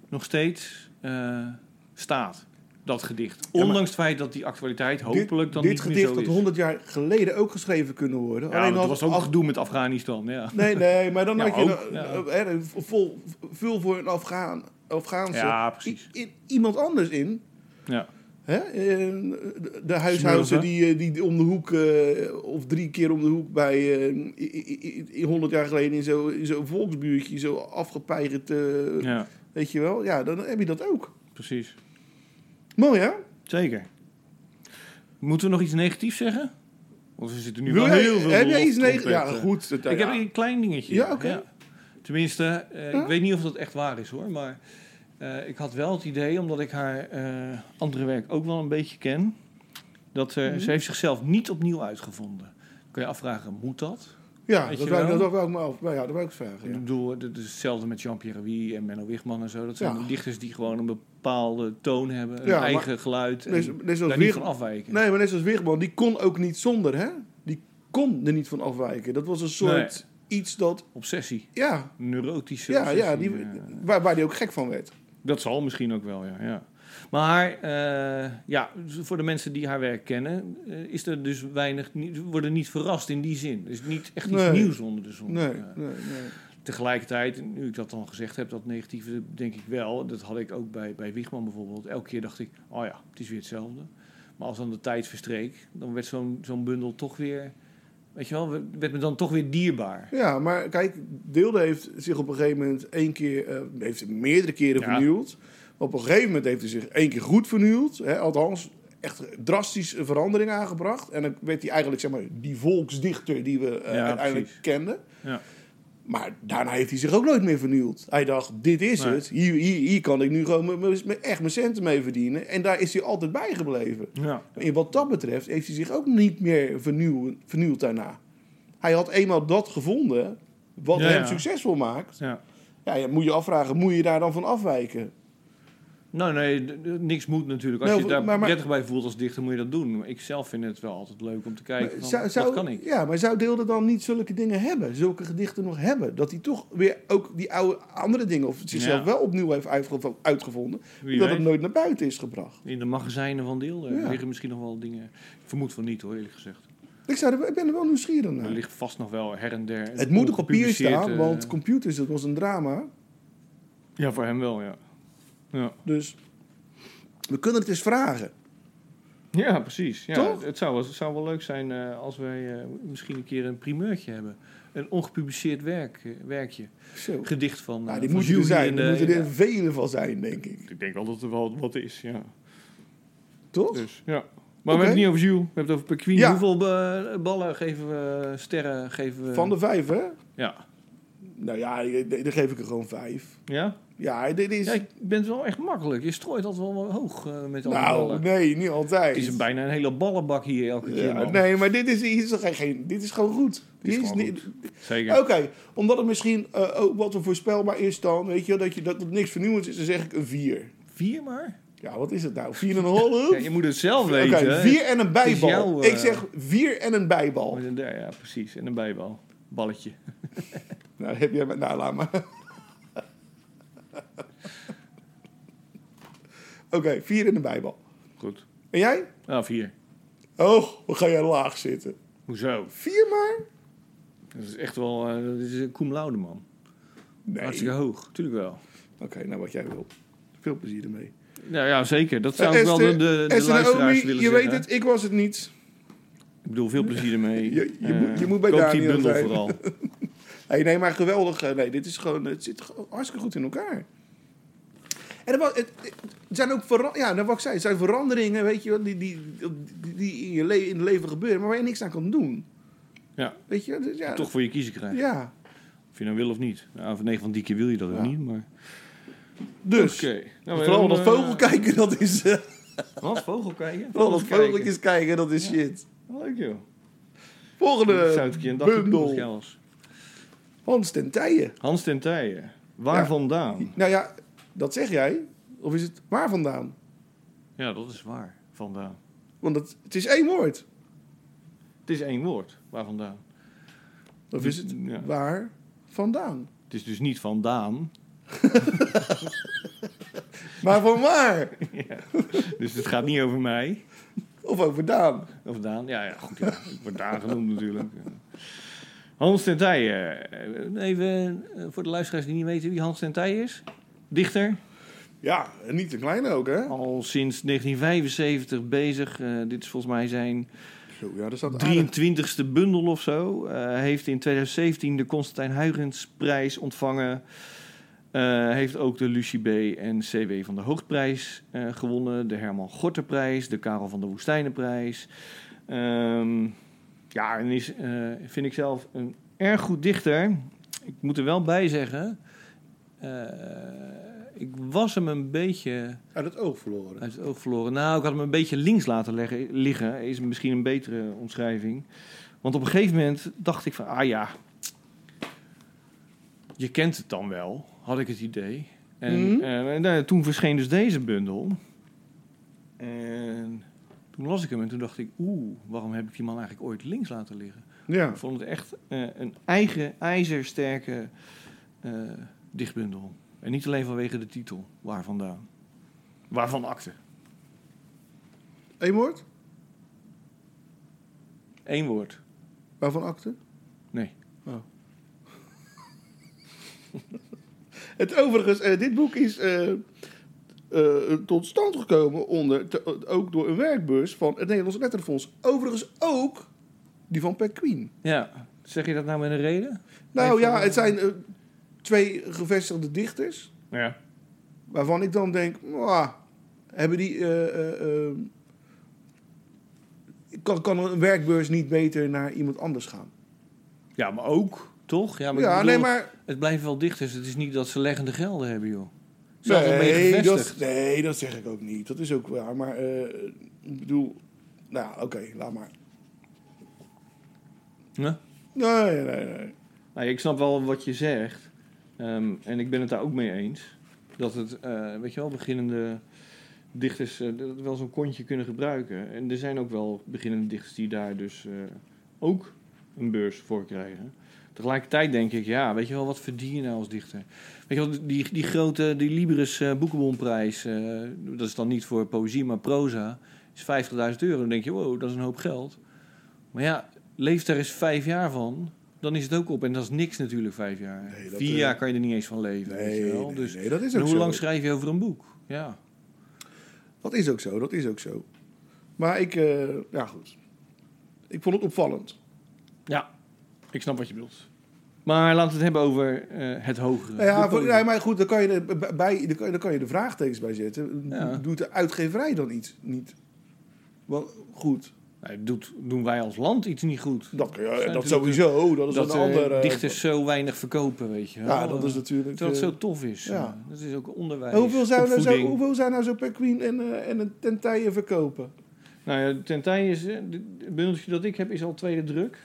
nog steeds eh, staat, dat gedicht.
maar-
Ondanks het feit dat die actualiteit hopelijk
Dit,
dan
dit
niet
gedicht
meer
dat
zo is.
100 jaar geleden ook geschreven kunnen worden.
Ja, dat
had-
was ook
had-
gedoe met Afghanistan, ja.
Nee, nee, maar dan
Ja,
had je...
ook,
dan- hè, vol, vul voor een Afghaan, Afghaanse...
Ja, precies.
i- i- iemand anders in.
ja.
Hè? Eh, De, de huishouden die, eh, die om de hoek... eh, of drie keer om de hoek bij... eh, i- i- i- i- 100 jaar geleden in zo'n in zo'n volksbuurtje... Zo afgepeigerd... eh,
ja,
Weet je wel? Ja, dan heb je dat ook.
precies.
Mooi, hè?
Zeker. Moeten we nog iets negatiefs zeggen? Want we zitten nu
Wil
wel
jij-
heel veel
heb jij iets
loftrompetten.
negen? Ja, goed. het-
Ik heb
ja.
een klein dingetje.
Ja, oké.
Tenminste, eh, ik weet niet of dat echt waar is hoor. Maar eh, ik had wel het idee, omdat ik haar eh, andere werk ook wel een beetje ken, dat eh,
Mhm.
ze heeft zichzelf niet opnieuw uitgevonden. Kun je afvragen, moet dat?
ja,
weet
dat
je
wou,
wel?
dat wou ik me af. Nou ja, dat wou ik vragen.
Ik
Ja.
bedoel, het is hetzelfde met Jean-Pierre Wie en Menno Wichman en zo. Dat zijn
Ja.
dichters die gewoon een bepaalde toon hebben, een
Ja, maar-
eigen geluid en
Net zo- net zoals
daar niet
Wieg-
van afwijken.
Nee, maar net zoals Wigman, die kon ook niet zonder, hè? Die kon er niet van afwijken. Dat was een soort iets dat...
Obsessie,
Ja,
neurotische
ja,
obsessie.
ja, die,
eh.
waar, waar die ook gek van werd.
Dat zal misschien ook wel, ja. ja. Maar eh, ja, voor de mensen die haar werk kennen, eh, is er dus weinig, niet- worden niet verrast in die zin. Er is niet echt iets
Nee.
nieuws onder de zon.
Nee,
Eh,
nee, nee.
tegelijkertijd, nu ik dat dan gezegd heb, dat negatieve, denk ik wel. Dat had ik ook bij, bij Wiegman bijvoorbeeld. Elke keer dacht ik, oh ja, het is weer hetzelfde. Maar als dan de tijd verstreek, dan werd zo'n zo'n bundel toch weer, weet je wel, werd me dan toch weer dierbaar.
Ja, maar kijk, Deelde heeft zich op een gegeven moment één keer, eh, heeft zich meerdere keren
Ja.
vernieuwd. Op een gegeven moment heeft hij zich één keer goed vernieuwd. Hè, althans, echt drastisch een verandering aangebracht. En dan werd hij eigenlijk, zeg maar, die volksdichter die we eh,
Ja,
uiteindelijk
precies.
kenden.
Ja.
Maar daarna heeft hij zich ook nooit meer vernieuwd. Hij dacht, dit is
Nee.
het. Hier, hier, hier kan ik nu gewoon mijn- mijn- mijn- echt mijn centen mee verdienen. En daar is hij altijd bij gebleven.
Ja.
En wat dat betreft heeft hij zich ook niet meer vernieuwen, vernieuwd daarna. Hij had eenmaal dat gevonden wat
Ja,
hem
ja.
succesvol maakt.
ja.
Ja, je moet je afvragen, moet je daar dan van afwijken?
Nou, nee, d- d- niks moet natuurlijk. Als
Nee,
je daar
Nou, maar- maar-
prettig bij voelt als dichter, moet je dat doen. Maar Ik zelf vind het wel altijd leuk om te kijken.
Maar
van,
zou, zou,
wat kan ik?
Ja, maar zou Deelde dan niet zulke dingen hebben? Zulke gedichten nog hebben? Dat hij toch weer ook die oude, andere dingen... of zichzelf
Ja.
wel opnieuw heeft uitgevo- uitgevonden...
Wie
dat
weet.
het nooit naar buiten is gebracht.
In de magazijnen van Deel eh,
Ja.
liggen misschien nog wel dingen. Ik vermoed van niet hoor, eerlijk gezegd.
Ik, zou er, wel- ik ben er wel nieuwsgierig
Er
naar.
ligt vast nog wel her en der.
Het moet op papier
ongepubliceerd,
staan,
eh,
want computers, dat was een drama.
Ja, voor hem wel, ja. Ja,
Dus we kunnen het eens vragen.
ja precies. Ja,
Toch?
het- Het, zou, wel- het zou wel leuk zijn eh, als wij eh, misschien een keer een primeurtje hebben. Een ongepubliceerd werk, eh, werkje.
Zo.
Gedicht van. eh,
Nou, die
van
moeten er
Jury
zijn.
en,
Er
eh,
moeten
ja.
er vele van zijn, denk ik.
Ik denk wel dat er wel wat is, ja.
Toch?
Dus, ja. Maar we
Oké.
hebben het niet over Jules, we hebben het over Pequien.
Ja.
Hoeveel eh, ballen geven we, sterren geven we?
Van de vijf, hè?
Ja.
Nou ja, eh, dan geef ik er gewoon vijf.
Ja?
Ja, dit is...
Ja, ik ben het wel echt makkelijk. Je strooit dat wel wel hoog eh, met al die
nou,
ballen.
nee, niet altijd.
Het is bijna een hele ballenbak hier elke keer.
Ja,
man.
nee, maar dit is, hier is toch geen- geen, dit is gewoon goed.
Dit is
Dit is
gewoon
niet-
Zeker.
Oké, omdat het misschien eh, ook wat er voorspelbaar is dan, weet je, dat, je, dat het niks vernieuwends is, dan zeg ik een 4.
Vier maar?
Ja, wat is het nou? 4,5?
Ja, je moet het zelf
Oké,
weten. hè.
4 en een bijbal.
jouw, eh,
Ik zeg 4 en een bijbal.
Met een- Ja, precies. En een bijbal. Balletje.
Nou, heb jij met nou, laat maar. Oké, 4 en een bijbal.
Goed.
En jij?
Nou, vier.
Oh, wat ga jij laag zitten?
Hoezo?
4 maar?
Dat is echt wel... eh, dat is een cum laude, man.
Nee.
Hartstikke hoog. Tuurlijk wel.
Oké, nou wat jij wil. Veel plezier ermee.
Nou ja, zeker. Dat zou
Eh,
ik wel de,
Esther-
de, de
Esther
luisteraars
Naomi,
willen
je
zeggen.
weet het, ik was het niet.
Ik bedoel, veel plezier ermee.
Je- je
Eh,
moet- je moet bij
koop die
Daniel
bundel
zijn.
vooral.
Hey, nee, maar geweldig. eh, Nee, dit is gewoon, het zit gewoon hartstikke goed in elkaar. En er, wa- het, het er zijn ook vera- ja, nou, wat ik zei, er zijn veranderingen, weet je wel, die, die, die, die in je le- in het leven gebeuren, maar waar je niks aan kan doen.
Ja.
Weet je, dus ja,
Toch voor je kiezen krijgen.
ja.
Of je nou wil of niet. Nou, van 9 van die keer wil je dat ook
Ja.
niet, maar...
Dus,
Oké. Nou,
vooral
dan,
dat
eh,
vogel kijken, dat is, eh,
Wat? Vogel kijken?
vooral dat
Vogels kijken.
vogeltjes kijken, dat is shit.
Leuk, joh. Dat zou
Volgende
ik een keer een dagje doen
Eh,
als jij
bundel,
was.
Hans ten Tijen.
Hans ten Tijen. Waar
Ja.
vandaan?
Nou ja, dat zeg jij, of is het waar vandaan?
Ja, dat is waar. Vandaan.
Want het, het is één woord.
Het is één woord. Waar vandaan?
Of is het
Ja.
waar vandaan?
Het is dus niet vandaan.
Maar van waar?
Dus het gaat niet over mij.
Of over Daan?
Of Daan. Ja, ja goed. Ja. Ik word Daan genoemd natuurlijk. Hans ten Tijen. Eh, Even eh, voor de luisteraars die niet weten wie Hans ten Tijen is. Dichter.
Ja, en niet te klein ook, hè?
Al sinds 1975 bezig. Eh, dit is volgens mij zijn
Zo, ja, daar staat
23e bundel of zo. Eh, Hij heeft in 2017 de Constantijn Huygensprijs ontvangen. Eh, heeft ook de Lucie B. en CW van der Hoogtprijs eh, gewonnen. De Herman Gorterprijs, de Karel van der Woestijnenprijs. Ehm, ja, en is, eh, vind ik zelf een erg goed dichter. Ik moet er wel bij zeggen... eh, ik was hem een beetje
uit het oog verloren.
uit het oog verloren. Nou, ik had hem een beetje links laten leggen, liggen. Is misschien een betere omschrijving. Want op een gegeven moment dacht ik van... Ah ja, je kent het dan wel, had ik het idee. En,
Mhm.
eh, en nou, toen verscheen dus deze bundel. En toen las ik hem en toen dacht ik... Oeh, waarom heb ik die man eigenlijk ooit links laten liggen?
Ja,
Ik vond het echt eh, een eigen, ijzersterke eh, dichtbundel. En niet alleen vanwege de titel, waar vandaan. Waarvan akte.
één woord?
Eén woord.
Waarvan akte?
Nee.
Het overigens, eh, dit boek is eh, eh, tot stand gekomen onder, te- eh, ook door een werkbeurs van het Nederlands Letterenfonds. Overigens ook die van Perquin.
Ja. Zeg je dat nou met een reden?
Nou
Even,
ja,
eh,
het zijn eh, twee gevestigde dichters.
Ja.
Waarvan ik dan denk, "Mwah, hebben die. eh, eh, eh, kan, kan een werkbeurs niet beter naar iemand anders gaan?
Ja, maar ook Toch? Ja, maar, ik
Ja,
bedoel,
nee, maar...
het blijven wel dichters. Het is niet dat ze leggende gelden hebben, joh. Ze zijn wel een beetje
Nee dat,
gevestigd.
nee, dat zeg ik ook niet. Dat is ook waar. Maar eh, ik bedoel... Nou, oké, laat maar.
Ja?
Nee, nee, nee.
Nou, ja, ik snap wel wat je zegt. Ehm, en ik ben het daar ook mee eens. Dat het, eh, weet je wel, beginnende dichters eh, dat wel zo'n kontje kunnen gebruiken. En er zijn ook wel beginnende dichters die daar dus eh, ook een beurs voor krijgen. Tegelijkertijd denk ik, ja, weet je wel, wat verdien je nou als dichter? Weet je wel, die, die grote, die Liberus eh, Boekenbonprijs, eh, dat is dan niet voor poëzie, maar proza, is 50.000 euro. Dan denk je, wow, dat is een hoop geld. Maar ja, leef daar eens vijf jaar van, dan is het ook op. En dat is niks natuurlijk, vijf jaar.
Nee, dat,
Vier
eh,
jaar kan je er niet eens van leven. weet je
Nee,
wel.
nee,
dus
nee, dat is
en
ook
hoe
zo.
lang schrijf je over een boek? Ja.
Dat is ook zo, dat is ook zo. Maar ik... eh, ja, goed. Ik vond het opvallend.
Ja, ik snap wat je bedoelt. Maar laten we het hebben over eh, het hogere.
Nou ja,
De
voor,
poëzie.
nee, maar goed, dan kan, je er b- bij, dan, kan je, dan kan je de vraagtekens bij zetten.
Ja.
Doet de uitgeverij dan iets niet wel goed?
Nee, Nou, doet, doen wij als land iets niet goed?
Dat, kan je-
Zijn
dat
natuurlijk
sowieso, dat is
dat
een
eh,
ander... eh,
dichters zo weinig verkopen, weet je wel.
Ja, dat is
Eh,
natuurlijk...
Terwijl het
eh,
zo tof is.
ja.
Eh, Dat is ook onderwijs,
En hoeveel zijn, nou zo,
opvoeding.
hoeveel zijn nou zo per queen en, eh, en een tentaille verkopen?
Nou ja, Tentij is... eh, d- Het bundeltje dat ik heb is al tweede druk.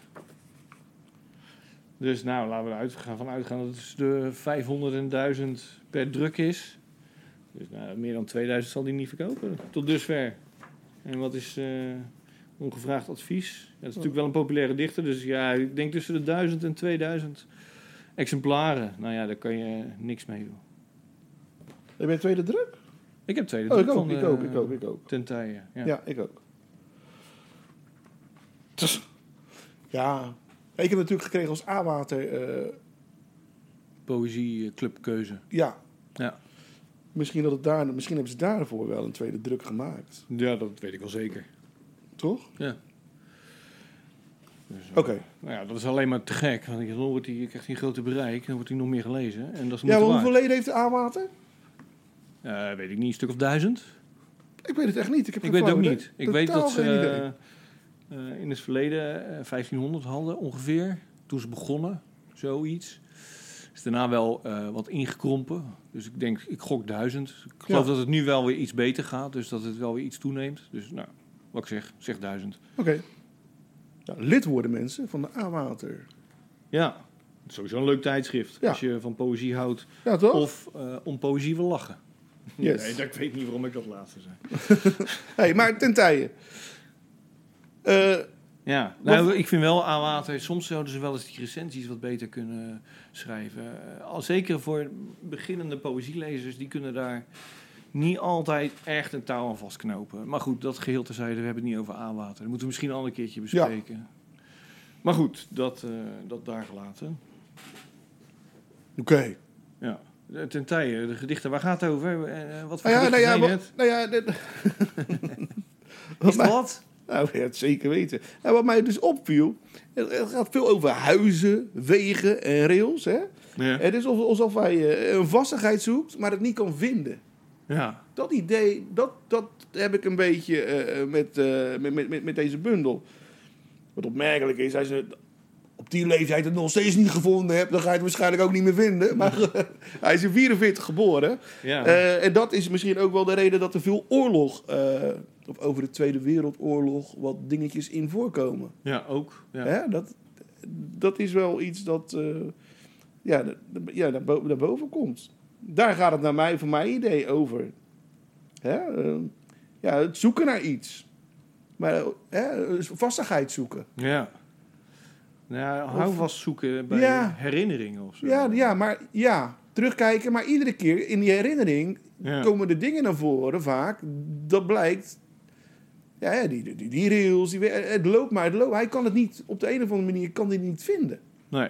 Dus nou, laten we ervan van uitgaan dat het dus de 500 en 1000 per druk is. Dus nou, meer dan 2000 zal die niet verkopen. Tot dusver. En wat is eh, ongevraagd advies? Ja, het is natuurlijk wel een populaire dichter. Dus ja, ik denk tussen de 1000 en 2000 exemplaren. Nou ja, daar kan je niks mee doen.
Heb je tweede druk?
Ik heb tweede
Oh,
druk
ik ook,
van
ik
de,
ook, ik ook, ik ook.
Tentaille,
Ja,
ja.
ik ook. Tss. Ja. Ik heb natuurlijk gekregen als A-water... eh,
Poëzie, eh, clubkeuze.
ja.
Ja.
Misschien, dat het daar, misschien hebben ze daarvoor wel een tweede druk gemaakt.
Ja, dat weet ik wel zeker.
Toch?
Ja.
Oké.
Nou ja, dat is alleen maar te gek. Want dan oh, wordt die, krijgt hij een grote bereik. Dan wordt hij nog meer gelezen. En dat is
Ja,
niet
maar
waar.
hoeveel leden heeft de A-water?
Eh, weet ik niet, een stuk of duizend?
Ik weet het echt niet. Ik, heb geen
Ik weet het ook
flauw
niet.
idee.
Ik weet
Totaal
dat ze
geen idee.
eh, eh, in het verleden eh, 1500 hadden ongeveer. Toen ze begonnen, zoiets. Is daarna wel eh, wat ingekrompen. Dus ik denk, ik gok duizend. Ik geloof
Ja.
dat het nu wel weer iets beter gaat. Dus dat het wel weer iets toeneemt. Dus nou, wat ik zeg, zeg duizend.
Oké. Ja, lid worden mensen van de A-water.
Ja, sowieso een leuk tijdschrift.
Ja.
Als je van poëzie houdt
Ja, toch?
of eh, om poëzie wil lachen.
Yes.
Nee, dat, ik weet niet waarom ik dat laatste zei.
Hey, maar ten tijde. Eh,
Ja, nou, ik vind wel aan water. Soms zouden ze wel eens die recensies wat beter kunnen schrijven. Eh, al Zeker voor beginnende poëzielezers, die kunnen daar niet altijd echt een touw aan vastknopen. Maar goed, dat geheel terzijde, we hebben het niet over aanwater. Dat moeten we misschien een ander keertje bespreken. Maar goed, dat, eh, dat daar gelaten.
Oké.
Ja. Eh, Ten tijde, de gedichten, waar gaat het over? Eh, eh, wat voor
Nou ja, nou
gedichten
ja, wa-
zijn het?
nou ja, dit-
Is
wat
het
mij,
wat?
nou ja, het zeker weten. En wat mij dus opviel, het, het gaat veel over huizen, wegen en rails. Hè?
Ja.
Het is alsof, alsof hij eh, een vastigheid zoekt, maar het niet kan vinden.
ja.
Dat idee, dat, dat heb ik een beetje eh, met, eh, met, met, met, met deze bundel. Wat opmerkelijk is, als je op die leeftijd het nog steeds niet gevonden hebt, dan ga je het waarschijnlijk ook niet meer vinden. Maar hij is in 44 geboren.
Ja.
Eh, en dat is misschien ook wel de reden dat er veel oorlog, eh, of over de Tweede Wereldoorlog, wat dingetjes in voorkomen.
ja, ook. Ja.
Hè? Dat, dat is wel iets dat eh, ja, de- de- ja, naar, bo- naar boven komt. Daar gaat het naar mij, voor mijn idee over. Hè? eh, ja, het zoeken naar iets. Maar eh, hè, vastigheid zoeken.
Ja. Nou ja, hou vast zoeken bij
Ja.
herinneringen of zo.
Ja, ja, maar ja, terugkijken. Maar iedere keer in die herinnering
Ja.
komen de dingen naar voren vaak. Dat blijkt. Ja, ja, die, die, die, die rails, die, het loopt maar, het loopt. Hij kan het niet, op de een of andere manier kan hij het niet vinden.
Nee. Nou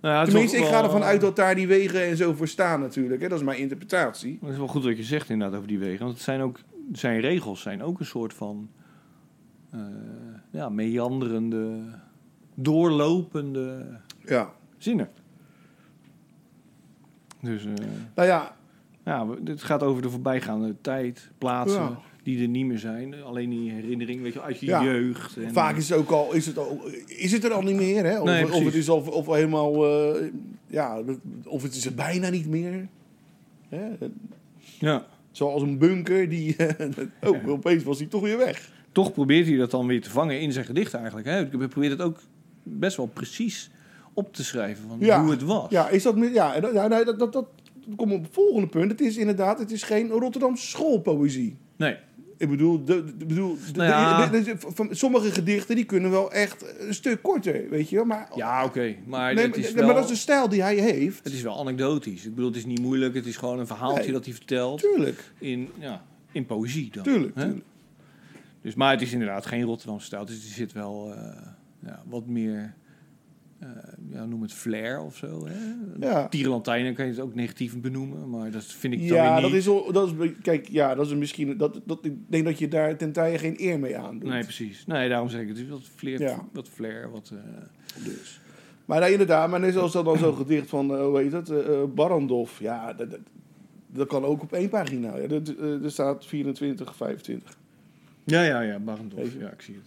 ja, het is
Tenminste, ik
wel-
ga ervan uit dat daar die wegen en zo voor staan natuurlijk. Hè? Dat is mijn interpretatie.
Het is wel goed wat je zegt inderdaad over die wegen. Want het zijn ook... Zijn regels zijn ook een soort van... eh, ja, meanderende... Doorlopende
Ja.
zinnen. eh, Dus... eh,
Nou ja, Nou
ja, we- dit gaat over de voorbijgaande tijd, plaatsen,
Ja.
die er niet meer zijn. Alleen in je herinnering, weet je, wel, uit je
Ja.
jeugd. En, eh,
Vaak is het ook al, is het, al, is het er al niet meer, hè? Of,
Nee,
of
precies.
het is al of helemaal, eh, ja, of het is er bijna niet meer. Hè?
Ja.
Zoals een bunker die, oh, opeens was hij toch weer weg.
Toch probeert hij dat dan weer te vangen in zijn gedicht eigenlijk. Hè? Ik probeer het ook best wel precies op te schrijven van
Ja.
hoe het was.
Ja, is dat, meer- ja, en dat, ja, nee, dat, dat, dat komt op het volgende punt. Het is inderdaad, het is geen Rotterdamse schoolpoëzie.
Nee,
Ik bedoel, de, de- bedoel de-
Nou ja.
de- de- de- van sommige gedichten die kunnen wel echt een stuk korter, weet je wel. Maar,
ja, oké. Maar,
nee,
het
maar,
is
nee,
wel,
maar dat is dus- de stijl die hij heeft.
het is wel anekdotisch. Ik bedoel, het is niet moeilijk. Het is gewoon een verhaaltje
Nee.
dat hij vertelt
Tuurlijk,
in, ja, in poëzie dan.
tuurlijk,
hè?
tuurlijk.
Dus, maar het is inderdaad geen Rotterdamse stijl. Dus er zit wel eh, ja, wat meer, eh, ja, noem het flair of zo. Hè?
Ja.
Tierenlantijnen kan je het ook negatief benoemen. Maar dat vind ik dan
Ja,
weer
dat
niet.
is, al- dat is. Kijk, ja, dat is misschien. Dat, dat, ik denk dat je daar ten tijde geen eer mee aandoet.
Nee, precies. Nee, daarom zeg ik het. is wat flair,
Ja.
wat, flair wat, eh,
Dus. Maar nee, inderdaad, maar net zoals dat dan zo'n gedicht van, eh, hoe heet dat? eh, eh, Barrandov. Ja, dat, dat, dat kan ook op één pagina. Ja, dat, eh, er staat 24, 25.
Ja, ja, ja, Barendorf.
Even.
Ja, ik zie het.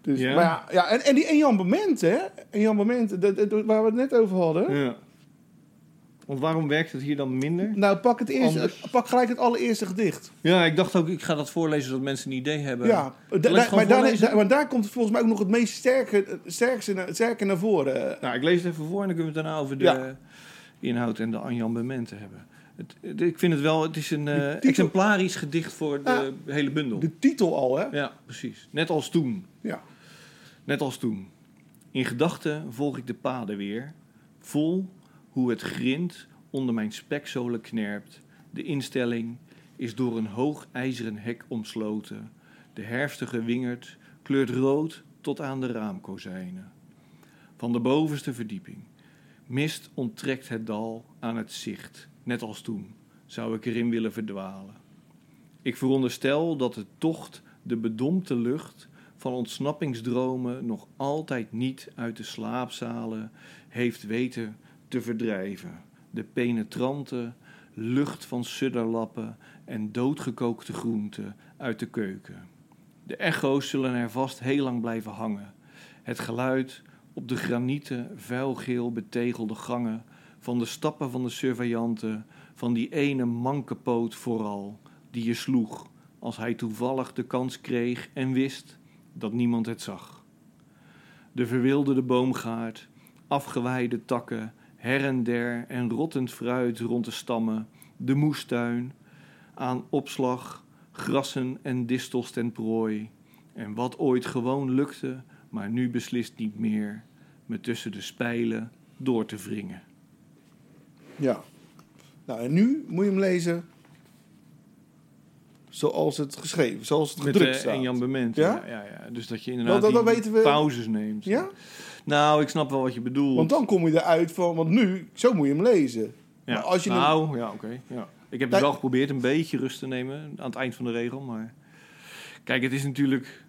Dus,
Ja.
Maar ja, ja en, en die enjambement, hè? Enjambement, dat, dat- waar we het net over hadden.
Ja. Want waarom werkt het hier dan minder?
Nou, pak, het eerst,
Anders.
pak gelijk het allereerste gedicht.
Ja, ik dacht ook, ik ga dat voorlezen zodat mensen een idee hebben.
Ja, da-
Zal ik
da-
gewoon
maar, daar,
voorlezen?
da- maar daar komt het volgens mij ook nog het meest sterke, sterkste, naar- sterke naar voren. eh,
Nou, ik lees het even voor en dan kunnen we het daarna over de
Ja.
inhoud en de anjambementen hebben. Het, het- ik vind het wel, het is een eh,
titel-
exemplarisch gedicht voor de hele bundel.
De titel al, hè?
Ja, precies. Net als toen.
Ja.
Net als toen. In gedachten volg ik de paden weer, vol hoe het grind onder mijn spekzolen knerpt. De instelling is door een hoog ijzeren hek omsloten. De herfstige wingerd kleurt rood tot aan de raamkozijnen. Van de bovenste verdieping. Mist onttrekt het dal aan het zicht. Net als toen zou ik erin willen verdwalen. Ik veronderstel dat de tocht de bedompte lucht van ontsnappingsdromen nog altijd niet uit de slaapzalen heeft weten te verdrijven. De penetrante lucht van sudderlappen en doodgekookte groenten uit de keuken. De echo's zullen er vast heel lang blijven hangen. Het geluid op de granieten, vuilgeel betegelde gangen, van de stappen van de surveillanten, van die ene manke poot vooral, die je sloeg als hij toevallig de kans kreeg en wist dat niemand het zag. De verwilderde boomgaard, afgewaaide takken, her en der en rottend fruit rond de stammen, de moestuin, aan opslag, grassen en distels ten prooi. En wat ooit gewoon lukte, maar nu beslist niet meer, me tussen de spijlen door te wringen.
ja. Nou, en nu moet je hem lezen zoals het geschreven, zoals het
Met eh,
gedrukt
de
staat.
enjambement.
Ja?
Ja? Ja, ja, Dus dat je inderdaad
dat- dat
die
weten we-
pauzes neemt.
Ja?
Nou, ik snap wel wat je bedoelt.
Want dan kom je eruit van, want nu, zo moet je hem lezen.
ja.
maar als je
nou, ja, oké. Ja. Ik heb het
Nou-
wel geprobeerd een beetje rust te nemen aan het eind van de regel. Maar kijk, het is natuurlijk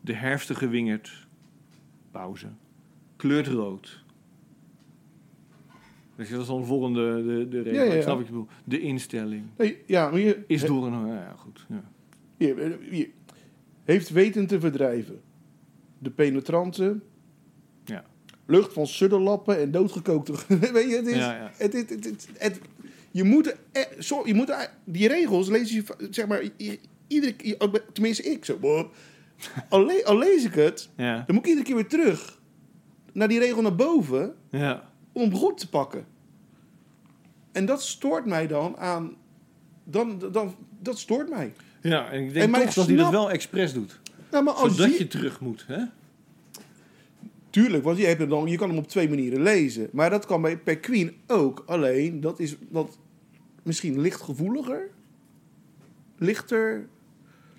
de herfstige wingerd. Pauze. Kleurt rood. Dus dat is dan de volgende de, de regel.
Ja, ja, ja.
Ik snap wat je bedoelt. De instelling
Nee, ja, maar hier,
is door een... Ja, goed. Ja.
hier, eh, hier. Heeft weten te verdrijven. De penetrante.
Ja.
Lucht van sudderlappen en doodgekookte... Weet je, het is...
Ja, ja.
Het, het, het, het- het- je moet... er- eh, zo- je moet er- die regels lees je... va- Zeg maar, i- iedere keer... Tenminste, ik zo... bop. Al, le- al lees ik het...
Ja.
Dan moet ik iedere keer weer terug naar die regel naar boven
ja.
om hem goed te pakken. En dat stoort mij dan aan. Dan, dan, dat stoort mij.
Ja, en ik
En
denk
maar
toch
ik
dat hij dat
snap-
wel expres doet.
Nou, maar als
Zodat
je,
je terug moet, hè?
Tuurlijk, want je, hebt hem dan, je kan hem op twee manieren lezen. Maar dat kan bij, per Queen ook. Alleen dat is wat misschien lichtgevoeliger. Lichter.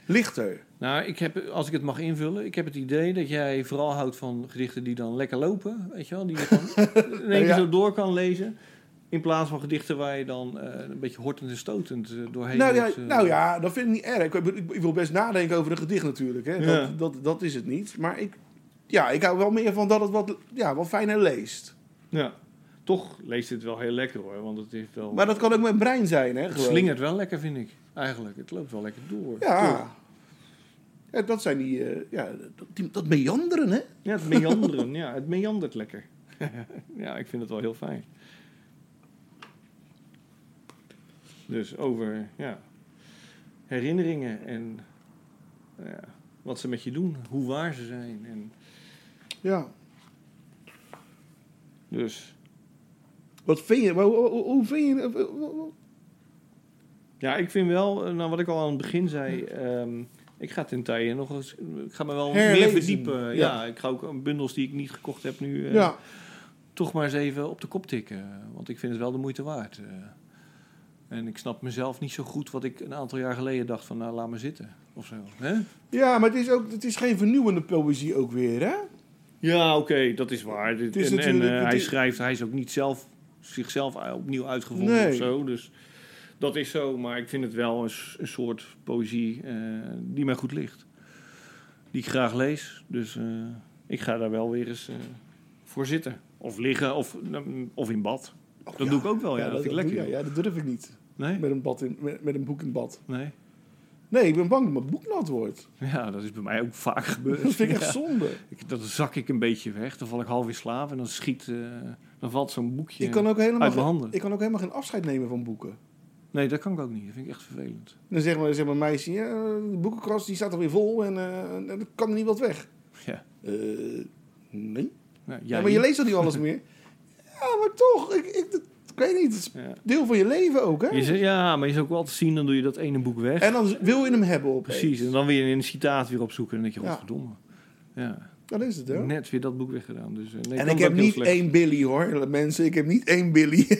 Lichter.
Nou, ik heb, als ik het mag invullen, ik heb het idee dat jij vooral houdt van gedichten die dan lekker lopen, weet je wel, die je gewoon in één keer
Ja.
zo door kan lezen, in plaats van gedichten waar je dan eh, een beetje hortend en stotend eh, doorheen
nou, ja,
moet, eh,
nou ja, dat vind ik niet erg. Ik, bedoel, ik- ik wil best nadenken over een gedicht natuurlijk. Hè.
Ja.
Dat, dat, dat is het niet. Maar ik, ja, ik hou wel meer van dat het wat, ja, wat fijner leest.
ja. toch leest het wel heel lekker hoor. Want het is wel.
Maar dat kan ook mijn brein zijn, hè?
het
gewoon.
slingert wel lekker, vind ik. Eigenlijk. Het loopt wel lekker door. Toch?
Ja. ja. Dat zijn die, eh, ja, dat, die- dat meanderen, hè?
ja het meanderen. ja, het meandert lekker. ja, ik vind het wel heel fijn. Dus over ja, herinneringen en ja, wat ze met je doen, hoe waar ze zijn. En
Ja.
dus
Wat vind je, maar hoe, hoe- hoe vind je, hoe- hoe- hoe-
Ja, ik vind wel, eh, nou wat ik al aan het begin zei, ehm, ik ga Tentaille nog eens, ik ga me wel
Herlezen.
meer verdiepen. Ja.
Ja.
ik ga ook eh, bundels die ik niet gekocht heb nu eh,
ja.
toch maar eens even op de kop tikken. Want ik vind het wel de moeite waard. eh. en ik snap mezelf niet zo goed wat ik een aantal jaar geleden dacht van, nou laat me zitten of zo. Hè?
Ja, maar het is, ook, het is geen vernieuwende poëzie ook weer, hè?
Oh Ja, oké, dat is waar. Dit-
Het is
en en
natuurlijk-
eh,
het
hij
is-
schrijft, hij is ook niet zelf zichzelf opnieuw uitgevonden
Nee.
of zo. Dus dat is zo. Maar ik vind het wel een, s- een soort poëzie eh, die mij goed ligt. Die ik graag lees. Dus eh, ik ga daar wel weer eens eh, voor zitten. Of liggen, of, mm, of in bad. dat doe ik ook wel, ja. dat, vind ik lekker.
Oh Ja, ja, dat durf ik niet.
Nee?
Met een, bad in, met, met een boek in bad.
Nee?
Nee, ik ben bang dat mijn boek nat wordt.
Ja, dat is bij mij ook vaak gebeurd.
Dat vind ik
Ja.
echt zonde.
Ik- Dan zak ik een beetje weg. Dan val ik half in slaap en dan schiet... eh, dan valt zo'n boekje
Ik, kan ook helemaal
uit
geen,
mijn handen.
ik kan ook helemaal geen afscheid nemen van boeken.
Nee, dat kan ik ook niet. Dat vind ik echt vervelend.
Dan zeg maar, zeg maar meisje, ja, de boekenkast die staat alweer vol en eh, er kan er niet wat weg.
Ja.
Eh, nee.
Nou, jij
Ja, maar je leest toch niet alles meer? ja, maar toch. Ik, ik, dat- ik weet niet. Het is
Ja.
deel van je leven ook, hè?
Je zegt, ja, maar je zou ook wel altijd zien, dan doe je dat ene boek weg.
En dan wil je hem hebben op.
Precies, en dan weer een citaat weer opzoeken. En dan denk je,
Ja.
godverdomme. Ja.
Dat is het, hè?
Net weer dat boek weggedaan. Dus, eh, nee, kan
en
dat
ik heb
heel
niet
slecht.
één Billy, hoor. Mensen, ik heb niet één Billy.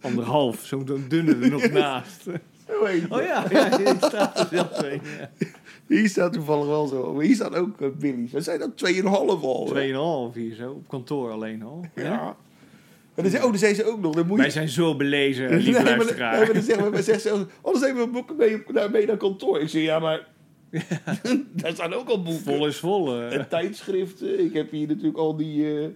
Anderhalf, zo'n dunne er nog naast.
Hoe heet
Oh
dat?
ja, ja je staat er zelf mee. Ja.
Hier staat toevallig wel zo. Maar hier staat ook eh, Billy. We zijn dat 2,5 al. hè?
Tweeënhalf hier zo, op kantoor alleen al.
Ja.
Ja.
En dan zei, oh, dan zei ze ook nog. Dan moet je...
Wij zijn zo belezen, lieve
Nee, maar-
luisteraar.
nee, maar dan zeggen we, maar zegt ze, ook, oh, dan zijn we boeken mee, naar- mee naar kantoor. Ik zeg, ja, maar daar staan ook al boeken.
Vol is vol. eh.
En tijdschriften. Ik heb hier natuurlijk al die eh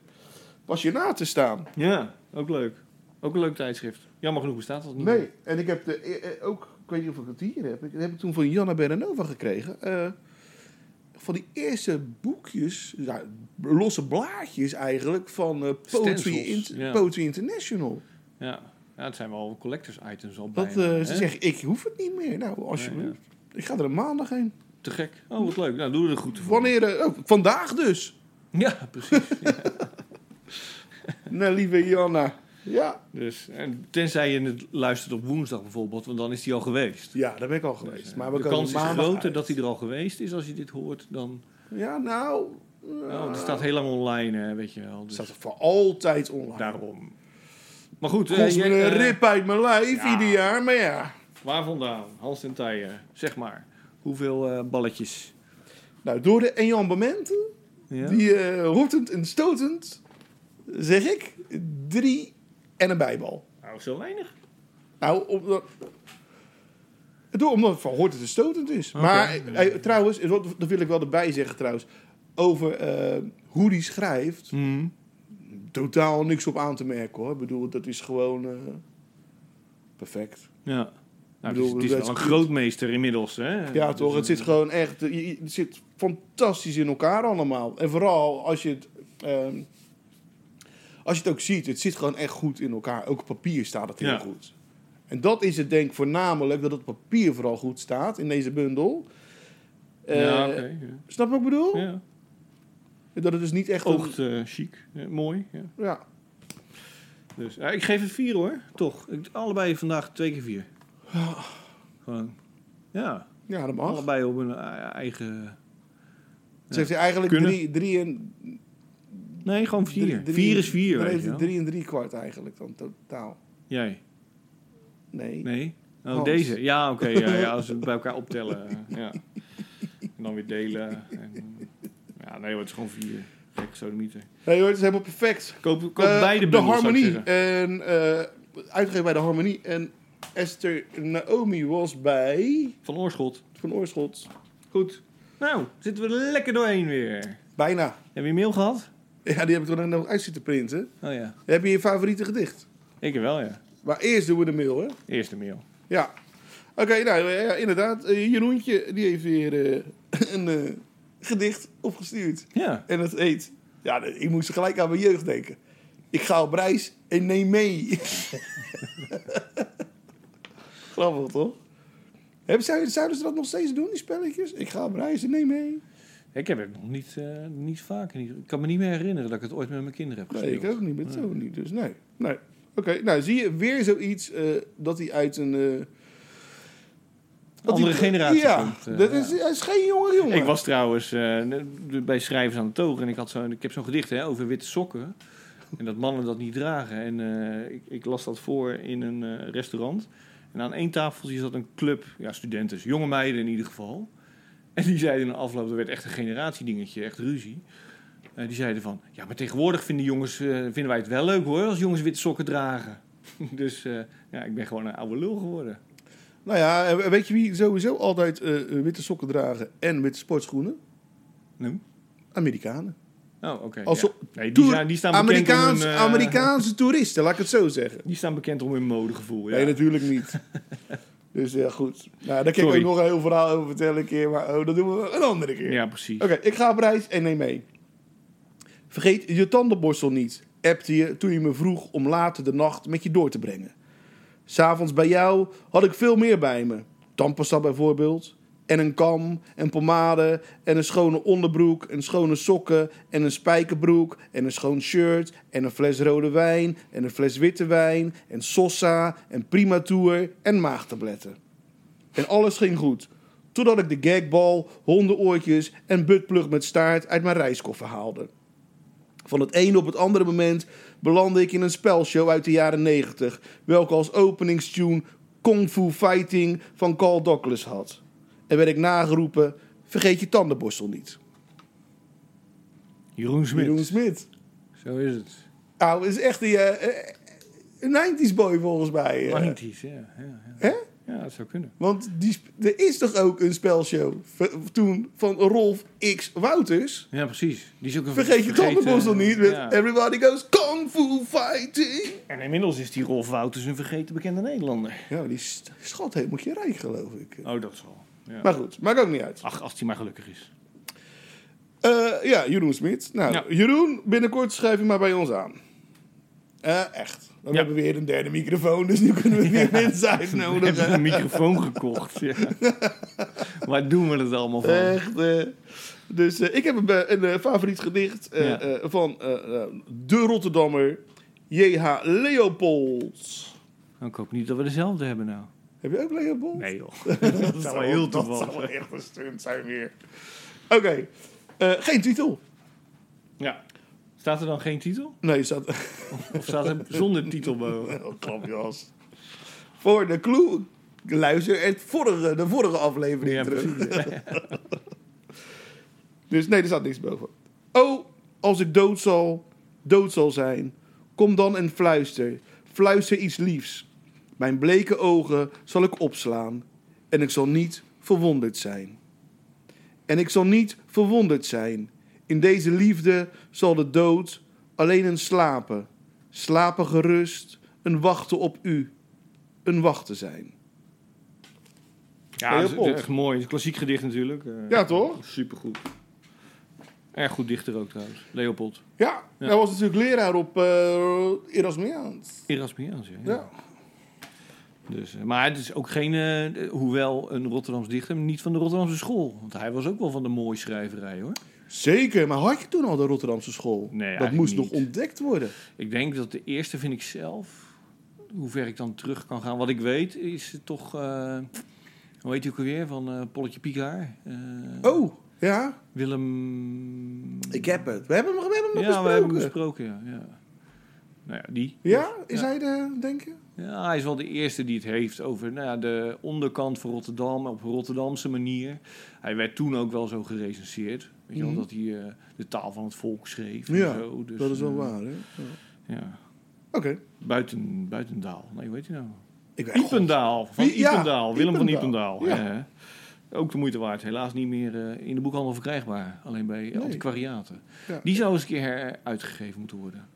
passionaten staan.
Ja, ook leuk. Ook een leuk tijdschrift. Jammer genoeg bestaat dat niet
Nee, en ik heb de, eh, eh, ook, ik weet niet of ik het hier heb, ik dat heb ik toen van Janna Berenova gekregen. Eh, van die eerste boekjes, ja, losse blaadjes eigenlijk, van eh, Poetry,
Stencils,
Int-
ja.
Poetry International.
Ja. ja, het zijn wel collectors items al
Dat
bijna,
eh, ze
hè?
zeggen, ik hoef het niet meer. Nou, alsjeblieft. Ik ga er een maandag heen.
Te gek. Oh, wat leuk. Nou, doe er goed voor.
Wanneer? eh, oh, vandaag dus.
Ja, precies.
Nou, lieve Janna. Ja.
dus, en tenzij je het luistert op woensdag bijvoorbeeld, want dan is die al geweest.
ja, daar ben ik al geweest. Maar we
de
komen
kans is
maandag
groter
uit.
dat hij er al geweest is als je dit hoort dan...
Ja, nou...
Oh, het staat heel lang online, hè, weet je wel. Dus
Eh. staat voor altijd online.
daarom. Maar goed, eh,
Kost me
jij,
een
eh,
rip uit mijn lijf
ja.
ieder jaar, maar ja.
waar vandaan? Hans en Tijen, zeg maar. Hoeveel eh, balletjes?
Nou, door de enjambementen,
Ja?
die eh, roetend en stotend, zeg ik, drie en een bijbal.
Nou, zo weinig.
Nou, omdat... Door, omdat Van Hoort het een stotend is.
Oké.
Maar eh, eh, trouwens, eh, dat dat wil ik wel erbij zeggen trouwens, over eh, hoe die schrijft,
Hmm.
totaal niks op aan te merken hoor. Ik bedoel, dat is gewoon eh, perfect.
Ja. Nou,
bedoel,
het is, het
dat
is
is
wel
goed.
een grootmeester inmiddels, hè?
Ja, toch?
Dus,
Het zit gewoon echt. je- je- Het zit fantastisch in elkaar allemaal. En vooral als je het. ehm, als je het ook ziet, het zit gewoon echt goed in elkaar. Ook op papier staat het heel
Ja.
goed. En dat is het denk ik voornamelijk dat het papier vooral goed staat in deze bundel.
eh, ja,
Eh,
oké.
Snap je wat ik bedoel?
ja. ja.
Dat het dus niet echt... een-
Oogt eh, chic. Ja, mooi, ja.
ja.
Dus, ja, ik geef het vier hoor, toch. Ik, allebei vandaag twee keer vier. Gewoon, ja.
ja, dat mag.
Allebei op een eh, eigen...
Ze heeft eigenlijk
Kunnen.
drie, drie en...
Nee, gewoon vier.
drie- drie-
vier is vier,
dan
weet
heeft
je
hij
wel.
drie en drie kwart eigenlijk dan totaal.
Jij?
Nee.
Nee? Oh,
Hans.
deze? Ja, oké. ja, ja, als we het bij elkaar optellen. eh, ja. En dan weer delen. En, eh, ja, nee, het is gewoon vier. Gek sodomieter.
Nee hoor, het is helemaal perfect.
Koop, koop
Eh,
beide
De
bundels, zou ik
Harmonie.
zeggen.
En, eh uitgegeven bij De Harmonie. En Esther Naomi was bij
Van Oorschot.
Van Oorschot.
Goed. Nou, zitten we er lekker doorheen weer.
Bijna.
Heb je mail gehad?
Ja, die heb ik er nog uit zitten printen.
Oh ja,
Heb je je favoriete gedicht?
ik wel ja.
Maar eerst doen we de mail, hè?
Eerste mail.
Ja. Oké, nou ja, inderdaad. Eh, Jeroentje, die heeft weer eh, een eh, gedicht opgestuurd.
Ja,
En dat heet... Ja, ik moest gelijk aan mijn jeugd denken. Ik ga op reis en neem mee. Grappig, toch? Hebben, zouden zouden ze dat nog steeds doen, die spelletjes? Ik ga op reis en neem mee.
ik heb het nog niet, eh, niet vaak. Niet, ik kan me niet meer herinneren dat ik het ooit met mijn kinderen heb
Nee,
gespeeld.
ik ook niet. Met zo niet. Dus nee. nee. Oké, nou zie je weer zoiets eh, dat hij uit een... eh, dat
Andere
hij-
generatie
Ja,
komt, eh,
dat
ja.
is, hij is geen jonge jongen.
Ik was trouwens eh, bij schrijvers aan het togen en ik, had zo, ik heb zo'n gedicht hè, over witte sokken. En dat mannen dat niet dragen. En eh, ik, ik las dat voor in een eh, restaurant. En aan één tafeltje zat een club, ja, studenten, dus jonge meiden in ieder geval. En die zeiden in de afloop, er werd echt een generatiedingetje, echt ruzie. Eh, die zeiden van, ja, maar tegenwoordig vinden, jongens, eh, vinden wij het wel leuk hoor, als jongens witte sokken dragen. dus eh, ja, ik ben gewoon een oude lul geworden.
Nou ja, en weet je wie sowieso altijd eh, witte sokken dragen en witte sportschoenen?
Nou.
Amerikanen.
Oh, oké.
Als
ja.
ze-
Nee, die,
Toer-
zijn, die staan bekend om
Amerikaans,
hun, eh,
Amerikaanse toeristen, laat ik het zo zeggen.
Die staan bekend om hun modegevoel. Ja.
Nee, natuurlijk niet. dus ja, goed. Nou, daar kan
Sorry.
ik ook nog een heel verhaal over vertellen een keer, maar oh, dat doen we een andere keer.
ja, precies.
Oké, ik ga op reis en neem mee. Vergeet je tandenborstel niet, appte je toen je me vroeg om later de nacht met je door te brengen. S'avonds bij jou had ik veel meer bij me. Tandpasta bijvoorbeeld. En een kam, en pomade, en een schone onderbroek, en schone sokken, en een spijkerbroek, en een schoon shirt, en een fles rode wijn, en een fles witte wijn, en sosa, en primatour, en maagtabletten. En alles ging goed. Totdat ik de gagbal, hondenoortjes en buttplug met staart uit mijn reiskoffer haalde. Van het ene op het andere moment belandde ik in een spelshow uit de jaren 90, welke als openingstune Kung Fu Fighting van Carl Douglas had. En werd ik nageroepen: vergeet je tandenborstel niet.
Jeroen Smit.
Jeroen Smit.
Zo is het.
Nou, is echt die eh, eh, een 90s boy volgens mij. eh.
Magnetisch, ja. Ja, ja.
Hè?
ja, dat zou kunnen.
Want die, sp- er is toch ook een spelshow v- toen van Rolf X Wouters?
Ja, precies. Die is ook een
Vergeet je
vergeten-
tandenborstel niet met
eh, ja.
Everybody Goes Kung Fu Fighting.
En inmiddels is die Rolf Wouters een vergeten bekende Nederlander.
Ja, maar die st- schat helemaal je rijk, geloof ik.
Oh, dat zal. Ja.
Maar goed, maakt ook niet uit.
Ach, als hij maar gelukkig is.
Eh, ja, Jeroen Smit. Nou,
Ja.
Jeroen, binnenkort schrijf je maar bij ons aan. Eh, echt. Dan
Ja.
hebben we weer een derde microfoon, dus nu kunnen we weer mensen
We hebben
uitnodigen.
een microfoon gekocht. Ja. Waar doen we het allemaal van?
Echt. eh. dus eh, ik heb een, be- een eh, favoriet gedicht eh,
Ja.
eh, van eh, eh, de Rotterdammer J.H. Leopold.
Nou, ik hoop niet dat we dezelfde hebben nou.
Heb je ook Leopold?
Nee joh. dat zou wel heel
Dat zou
toevallig.
wel echt een stunt zijn weer. Oké, eh, geen titel.
Ja. Staat er dan geen titel?
Nee, Oh, staat
Of staat er zonder titel boven?
een klapje als. Voor de clue, luister het vorige, de vorige aflevering
Ja,
terug.
precies.
Dus nee, er staat niks boven. Oh, als ik dood zal, dood zal zijn. Kom dan en fluister. Fluister iets liefs. Mijn bleke ogen zal ik opslaan. En ik zal niet verwonderd zijn. En ik zal niet verwonderd zijn. In deze liefde zal de dood alleen een slapen. Slapen gerust. Een wachten op u. Een wachten zijn.
Ja, dat is
Leopold.
echt mooi. Het is een klassiek gedicht natuurlijk. Eh,
Ja, toch?
Supergoed. Erg goed dichter ook trouwens. Leopold.
Ja,
Ja.
hij was natuurlijk leraar op eh Erasmiaans.
Erasmiaans, ja.
Ja.
Dus, eh, maar het is ook geen, eh, hoewel een Rotterdams dichter, maar niet van de Rotterdamse school. Want hij was ook wel van de mooie schrijverij hoor.
Zeker, maar had je toen al de Rotterdamse school?
Nee,
dat
eigenlijk
moest
niet.
nog ontdekt worden.
Ik denk dat de eerste vind ik zelf, hoe ver ik dan terug kan gaan. Wat ik weet is het toch, eh, hoe heet hij ook alweer, van eh, Polletje Pikaar. Eh,
Oh, ja?
Willem...
Ik heb het. We hebben hem, we hebben hem nog
Ja, we hebben hem
besproken.
besproken, ja. ja. Nou ja, die.
Ja? Is
Ja.
hij de, denk je?
Ja, hij is wel de eerste die het heeft over nou ja, de onderkant van Rotterdam op Rotterdamse manier. Hij werd toen ook wel zo gerecenseerd. Weet je wel,
Mhm.
dat hij eh, de taal van het volk schreef.
Ja,
en zo, dus,
dat is wel
eh,
waar, hè? Ja.
Ja.
Oké.
Buiten, buitendaal. Nee, weet je nou?
Ik ben-
Iependaal. Van
Wie- ja,
Iependaal. Willem van
Iependaal.
Iependaal.
Ja.
hè. Ook de moeite waard. Helaas niet meer eh, in de boekhandel verkrijgbaar. Alleen bij
Nee.
antiquariaten.
Ja.
Die zou eens een keer heruitgegeven moeten worden.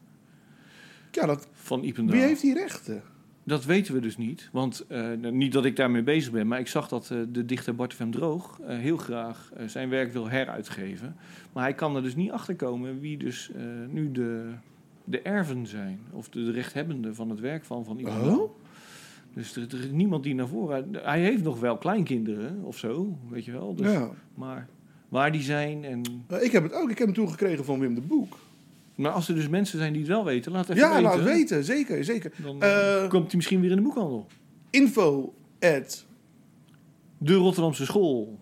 Ja, dat,
Van Ipendaal.
wie heeft die rechten?
Dat weten we dus niet. Want eh, nou, niet dat ik daarmee bezig ben, maar ik zag dat eh, de dichter Bart van Droog eh, heel graag eh, zijn werk wil heruitgeven. Maar hij kan er dus niet achter komen wie dus eh, nu de, de erven zijn. Of de, de rechthebbenden van het werk van, van iemand.
Oh?
Dus er, er is niemand die naar voren. Hij heeft nog wel kleinkinderen of zo, weet je wel. Dus,
Ja.
Maar waar die zijn en.
Eh, Ik heb het ook. Ik heb hem toen gekregen van Wim de Boek.
Maar als er dus mensen zijn die het wel weten, laat even
ja,
weten.
laat het weten. Zeker, zeker.
Dan eh,
Eh,
komt hij misschien weer in de boekhandel.
info at...
De Rotterdamse school.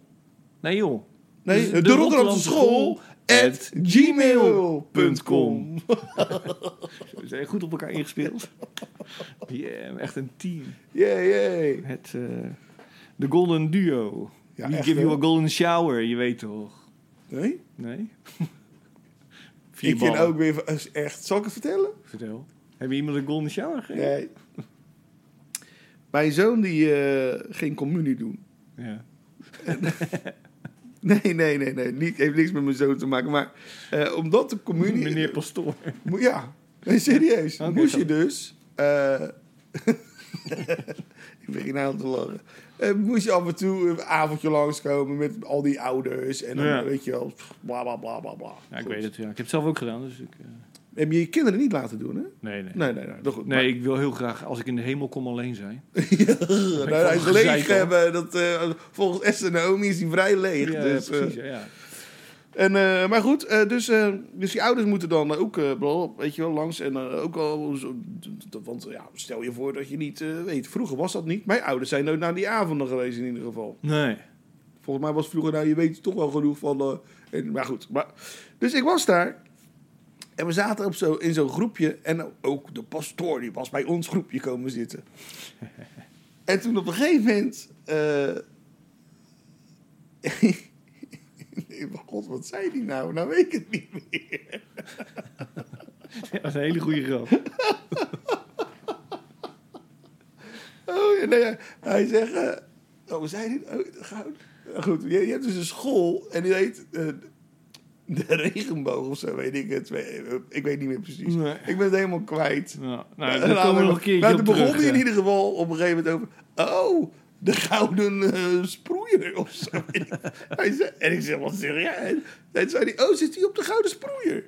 Nee joh.
Nee,
Dus
de, Rotterdamse school at gmail.com.
We zijn goed op elkaar ingespeeld. Yeah, echt een team.
Yeah, yeah.
Het, eh, de Golden Duo.
Ja,
We
echt,
give you
hè?
a golden shower, je weet toch?
Nee?
Nee? Vier
Ik vind
ballen.
ook weer... Echt, zal ik het vertellen?
Vertel. Heb je iemand een golden shower gegeven?
Nee. Mijn zoon die eh, ging communie doen.
Ja.
Nee, nee, nee, nee. Niet, heeft niks met mijn zoon te maken. Maar eh, omdat de communie...
Meneer Pastoor.
Mo- Ja, nee, serieus.
Oké,
moest
zo.
je dus... eh, ik begin aan te lachen. Eh, moest je af en toe een avondje langskomen met al die ouders. En dan
Ja.
weet je wel, pff, bla bla bla bla bla.
Ja, ik
Goed.
weet het, ja. Ik heb het zelf ook gedaan, dus ik... eh,
Heb je je kinderen niet laten doen, hè?
nee, nee.
Nee, nee, nee. dat Goed,
Nee, ik wil heel graag, als ik in de hemel kom, alleen zijn.
maar,
ik
nou, hij
vond
is
het
leeg
gezeik, hoor.
hebben. Dat, eh, volgens Esther Naomi is hij vrij leeg.
Ja,
dus, eh,
precies, ja, ja.
En, eh, maar goed, eh, dus, eh, dus die ouders moeten dan ook eh, wel, weet je wel, langs. En eh, ook al, zo- want ja, stel je voor dat je niet eh, weet. Vroeger was dat niet. Mijn ouders zijn nooit naar die avonden geweest in ieder geval.
Nee.
Volgens mij was vroeger, nou je weet toch wel genoeg van. eh, en, maar goed, maar, dus ik was daar. En we zaten op zo, in zo'n groepje. En ook de pastoor, die was bij ons groepje komen zitten. en toen op een gegeven moment... eh, nee, mijn god, wat zei die nou? Nou weet ik het niet meer.
Ja, dat is een hele goede grap.
Oh, ja, nee, ja. Hij zegt... eh, oh, we zijn dit? Oh, goud. Nou Goed, je, je hebt dus een school en die heet... eh, de regenboog of zo, weet ik het. Ik weet niet meer precies.
Nee.
Ik ben het helemaal kwijt.
Nou,
En
nou
dan
daar komen
hadden
we
we-
nog een keertje
nou,
op
toen begon
terug, eh.
hij in
ja.
ieder geval op een gegeven moment over... Oh, de gouden eh, sproeier of zo. En ik- hij zei, en ik zeg, wat serieus? En toen zei hij, oh, zit hij op de gouden sproeier?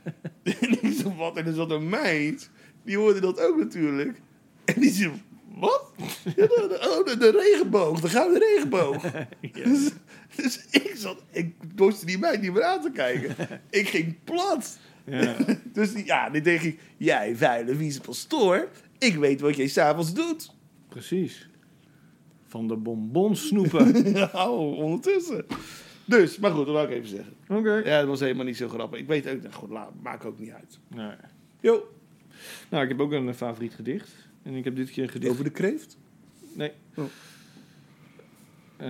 en ik zeg, wat? En er zat een meid, die hoorde dat ook natuurlijk. En die zei, wat? Ja, de, oh, de, de regenboog, de gouden regenboog. dus, dus ik zat, ik dorste die meid niet meer aan te kijken. ik ging plat.
Ja.
Dus die- ja, dan denk ik, jij vuile vieze pastoor, ik weet wat jij s'avonds doet.
Precies. Van de bonbons snoepen. Oké.
Nou, ondertussen. Dus, maar goed, dat wou ik even zeggen. Ja, dat was helemaal niet zo grappig. Ik weet ook, nou goed, laat, maakt ook niet uit.
Nee.
Jo,
Nou, ik heb ook een eh, favoriet gedicht. En ik heb dit keer een gedicht.
over de kreeft?
Nee.
Oh.
Eh,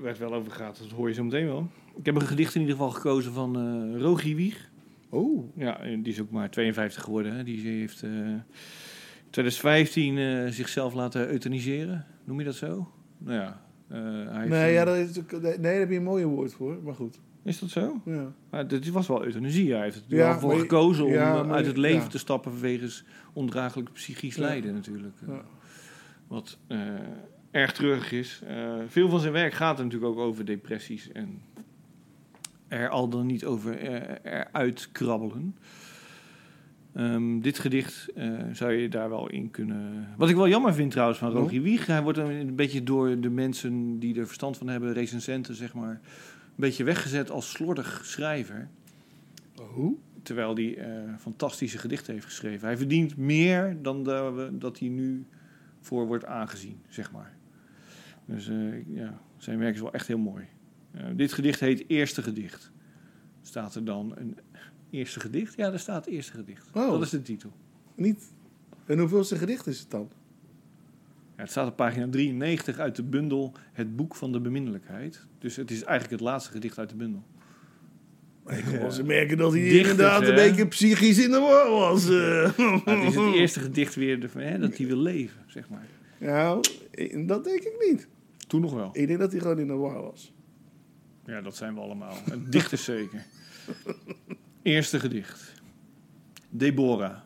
waar het wel over gaat, dat hoor je zo meteen wel. Ik heb een gedicht in ieder geval gekozen van eh Rogi Wieg.
Oh,
Ja, en die is ook maar 52 geworden. Hè. Die heeft eh, in 2015 eh, zichzelf laten euthaniseren. Noem je dat zo? Nou ja. eh, hij heeft
nee,
een-
ja, dat is, natuurlijk- nee, daar heb je een mooie woord voor, maar goed.
Is dat zo?
Ja.
Maar dit was wel euthanasie. Hij heeft er
Ja,
wel voor
maar je-
gekozen om
ja,
eh,
maar
uit
je-
het leven
ja.
te stappen wegens ondraaglijk psychisch
Ja.
lijden natuurlijk. Eh,
Ja.
Wat eh, erg treurig is. Eh, veel van zijn werk gaat er natuurlijk ook over depressies en er al dan niet over eh, eruit krabbelen. Ehm, dit gedicht eh, zou je daar wel in kunnen. Wat ik wel jammer vind trouwens van Rogier Wieg. Hij wordt dan een beetje door de mensen die er verstand van hebben, recensenten zeg maar, een beetje weggezet als slordig schrijver.
Oh?
Terwijl hij eh, fantastische gedichten heeft geschreven. Hij verdient meer dan daar we- dat hij nu voor wordt aangezien, zeg maar. Dus eh, ja, zijn werk is wel echt heel mooi. Eh, dit gedicht heet Eerste Gedicht. Staat er dan een Eerste Gedicht? Ja, daar staat Eerste Gedicht.
Oh.
Dat is de titel.
Niet. En hoeveelste gedicht is het dan?
Ja, het staat op pagina 93 uit de bundel Het Boek van de Beminnelijkheid. Dus het is eigenlijk het laatste gedicht uit de bundel.
Ik kon ze merken dat hij
Dichters,
inderdaad een
hè?
beetje psychisch in de war was. eh.
Maar het is het eerste gedicht weer de- hè, dat hij wil leven, zeg maar.
Nou, dat denk ik niet.
Toen nog wel.
Ik denk dat hij gewoon in de war was.
Ja, dat zijn we allemaal. Een dichter zeker. Eerste gedicht. Deborah.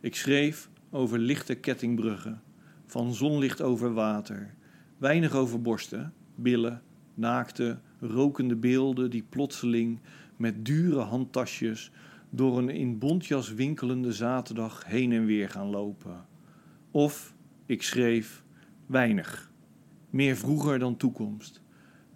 Ik schreef over lichte kettingbruggen. Van zonlicht over water. Weinig over borsten, billen, naakte, rokende beelden die plotseling met dure handtasjes door een in bontjas winkelende zaterdag heen en weer gaan lopen. Of ik schreef weinig. Meer vroeger dan toekomst.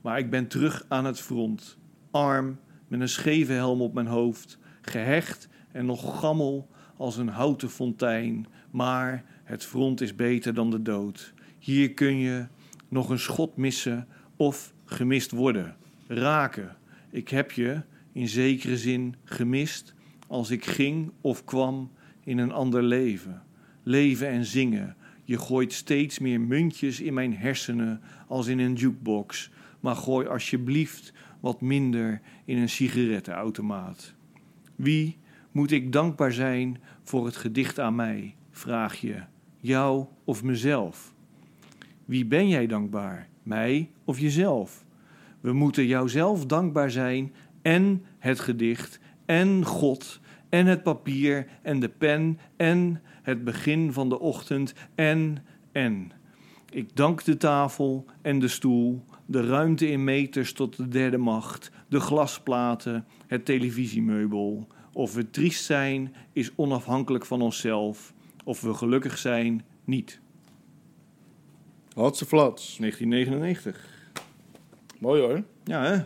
Maar ik ben terug aan het front. Arm, met een scheve helm op mijn hoofd. Gehecht en nog gammel als een houten fontein. Maar het front is beter dan de dood. Hier kun je nog een schot missen of gemist worden. Raken. Ik heb je in zekere zin gemist als ik ging of kwam in een ander leven. Leven en zingen. Je gooit steeds meer muntjes in mijn hersenen als in een jukebox maar gooi alsjeblieft wat minder in een sigarettenautomaat. Wie moet ik dankbaar zijn voor het gedicht aan mij, vraag je, jou of mezelf? Wie ben jij dankbaar, mij of jezelf? We moeten jouzelf dankbaar zijn en het gedicht en God en het papier en de pen en het begin van de ochtend en en. Ik dank de tafel en de stoel, de ruimte in meters tot de derde macht, de glasplaten, het televisiemeubel. Of we triest zijn, is onafhankelijk van onszelf. Of we gelukkig zijn, niet.
Hadse flats.
1999.
Mooi hoor.
Ja, hè?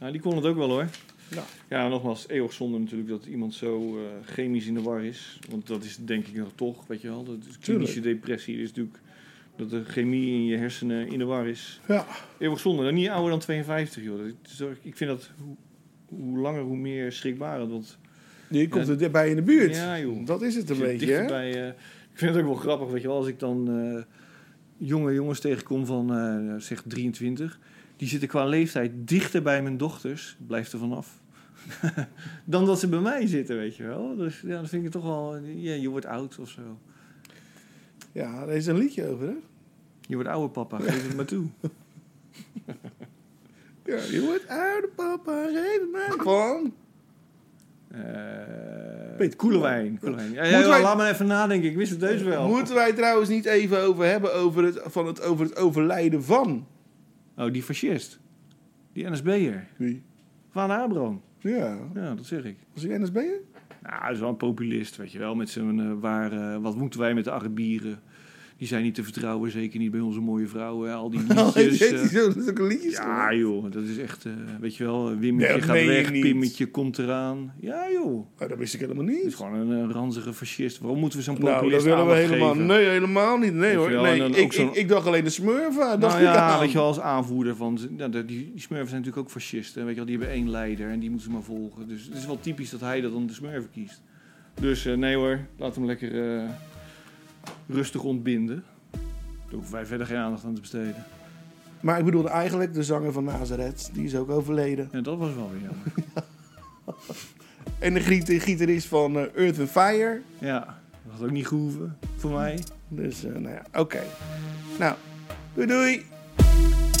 Nou, die kon het ook wel, hoor.
Ja.
ja nogmaals, eeuwig zonde natuurlijk dat iemand zo eh, chemisch in de war is. Want dat is denk ik nog toch, weet je wel. De klinische depressie is natuurlijk dat de chemie in je hersenen in de war is.
Ja.
Eeuwig zonde. Nou, Niet ouder dan 52, joh. Dat is toch- Ik vind dat hoe, hoe langer, hoe meer schrikbarend. Want
Je komt
Ja.
er bij in de buurt.
Ja, joh.
Dat is het een
je zit
beetje, hè?
dichterbij, eh, ik vind het ook wel grappig, weet je wel. Als ik dan eh, jonge jongens tegenkom van, eh, zeg, 23... die zitten qua leeftijd dichter bij mijn dochters. Blijf er vanaf. dan dat ze bij mij zitten, weet je wel. Dus ja, dat vind ik toch wel... Ja, je wordt oud of zo.
Ja, er is een liedje over, hè?
Je wordt oude papa, geef het maar toe.
Ja, je wordt oude papa, geef het mij gewoon.
Eh
Peter Koelewijn.
Koelewijn. Koelewijn. Ja,
Moeten
ja,
wij-
laat maar even nadenken. Ik wist het heus wel.
Moeten wij trouwens niet even over hebben over het, van het, over het overlijden van?
Oh, die fascist. Die NSB'er.
Wie?
Van Abraham.
Ja,
Ja, dat zeg ik.
was hij NSB'er?
Nou, hij is wel een populist, weet je wel. Met zijn, eh, waar, eh, wat moeten wij met de Arabieren? Die zijn niet te vertrouwen, zeker niet bij onze mooie vrouwen. hè. Al die
Oh,
liedjes.
heeft
eh.
hij zo zulke liedjes
ja,
gemaakt?
joh, dat is echt, eh, weet je wel, Wimmetje
Nee, dat
gaat
meen je
weg,
niet.
Pimmetje komt eraan. Ja, joh.
Oh, dat wist ik helemaal
Het is
niet.
gewoon een, eh, ranzige fascist. Waarom moeten we zo'n
Nou, dat
populist
willen we
aandacht
helemaal...
geven?
Nee, helemaal niet. Nee
je
hoor.
wel,
Nee,
en dan ook
ik,
zo'n-
ik, ik dacht alleen de smurfa. dacht
Nou
ik
ja,
aan.
weet je wel, als aanvoerder van... Ja, de- die, die smurfen zijn natuurlijk ook fascisten. Weet je wel, die hebben één leider en die moeten ze maar volgen. Dus het is wel typisch dat hij dat dan de smurfen kiest. Dus eh, nee hoor, laat hem lekker eh, rustig ontbinden. Daar hoeven wij verder geen aandacht aan te besteden.
Maar ik bedoelde eigenlijk de zanger van Nazareth. Die is ook overleden.
En dat was wel weer jammer.
En de giet- gitarist van eh, Earth and Fire.
ja, dat had ook niet gehoeven voor mij.
Dus, eh, nou ja, oké. Nou, doei doei.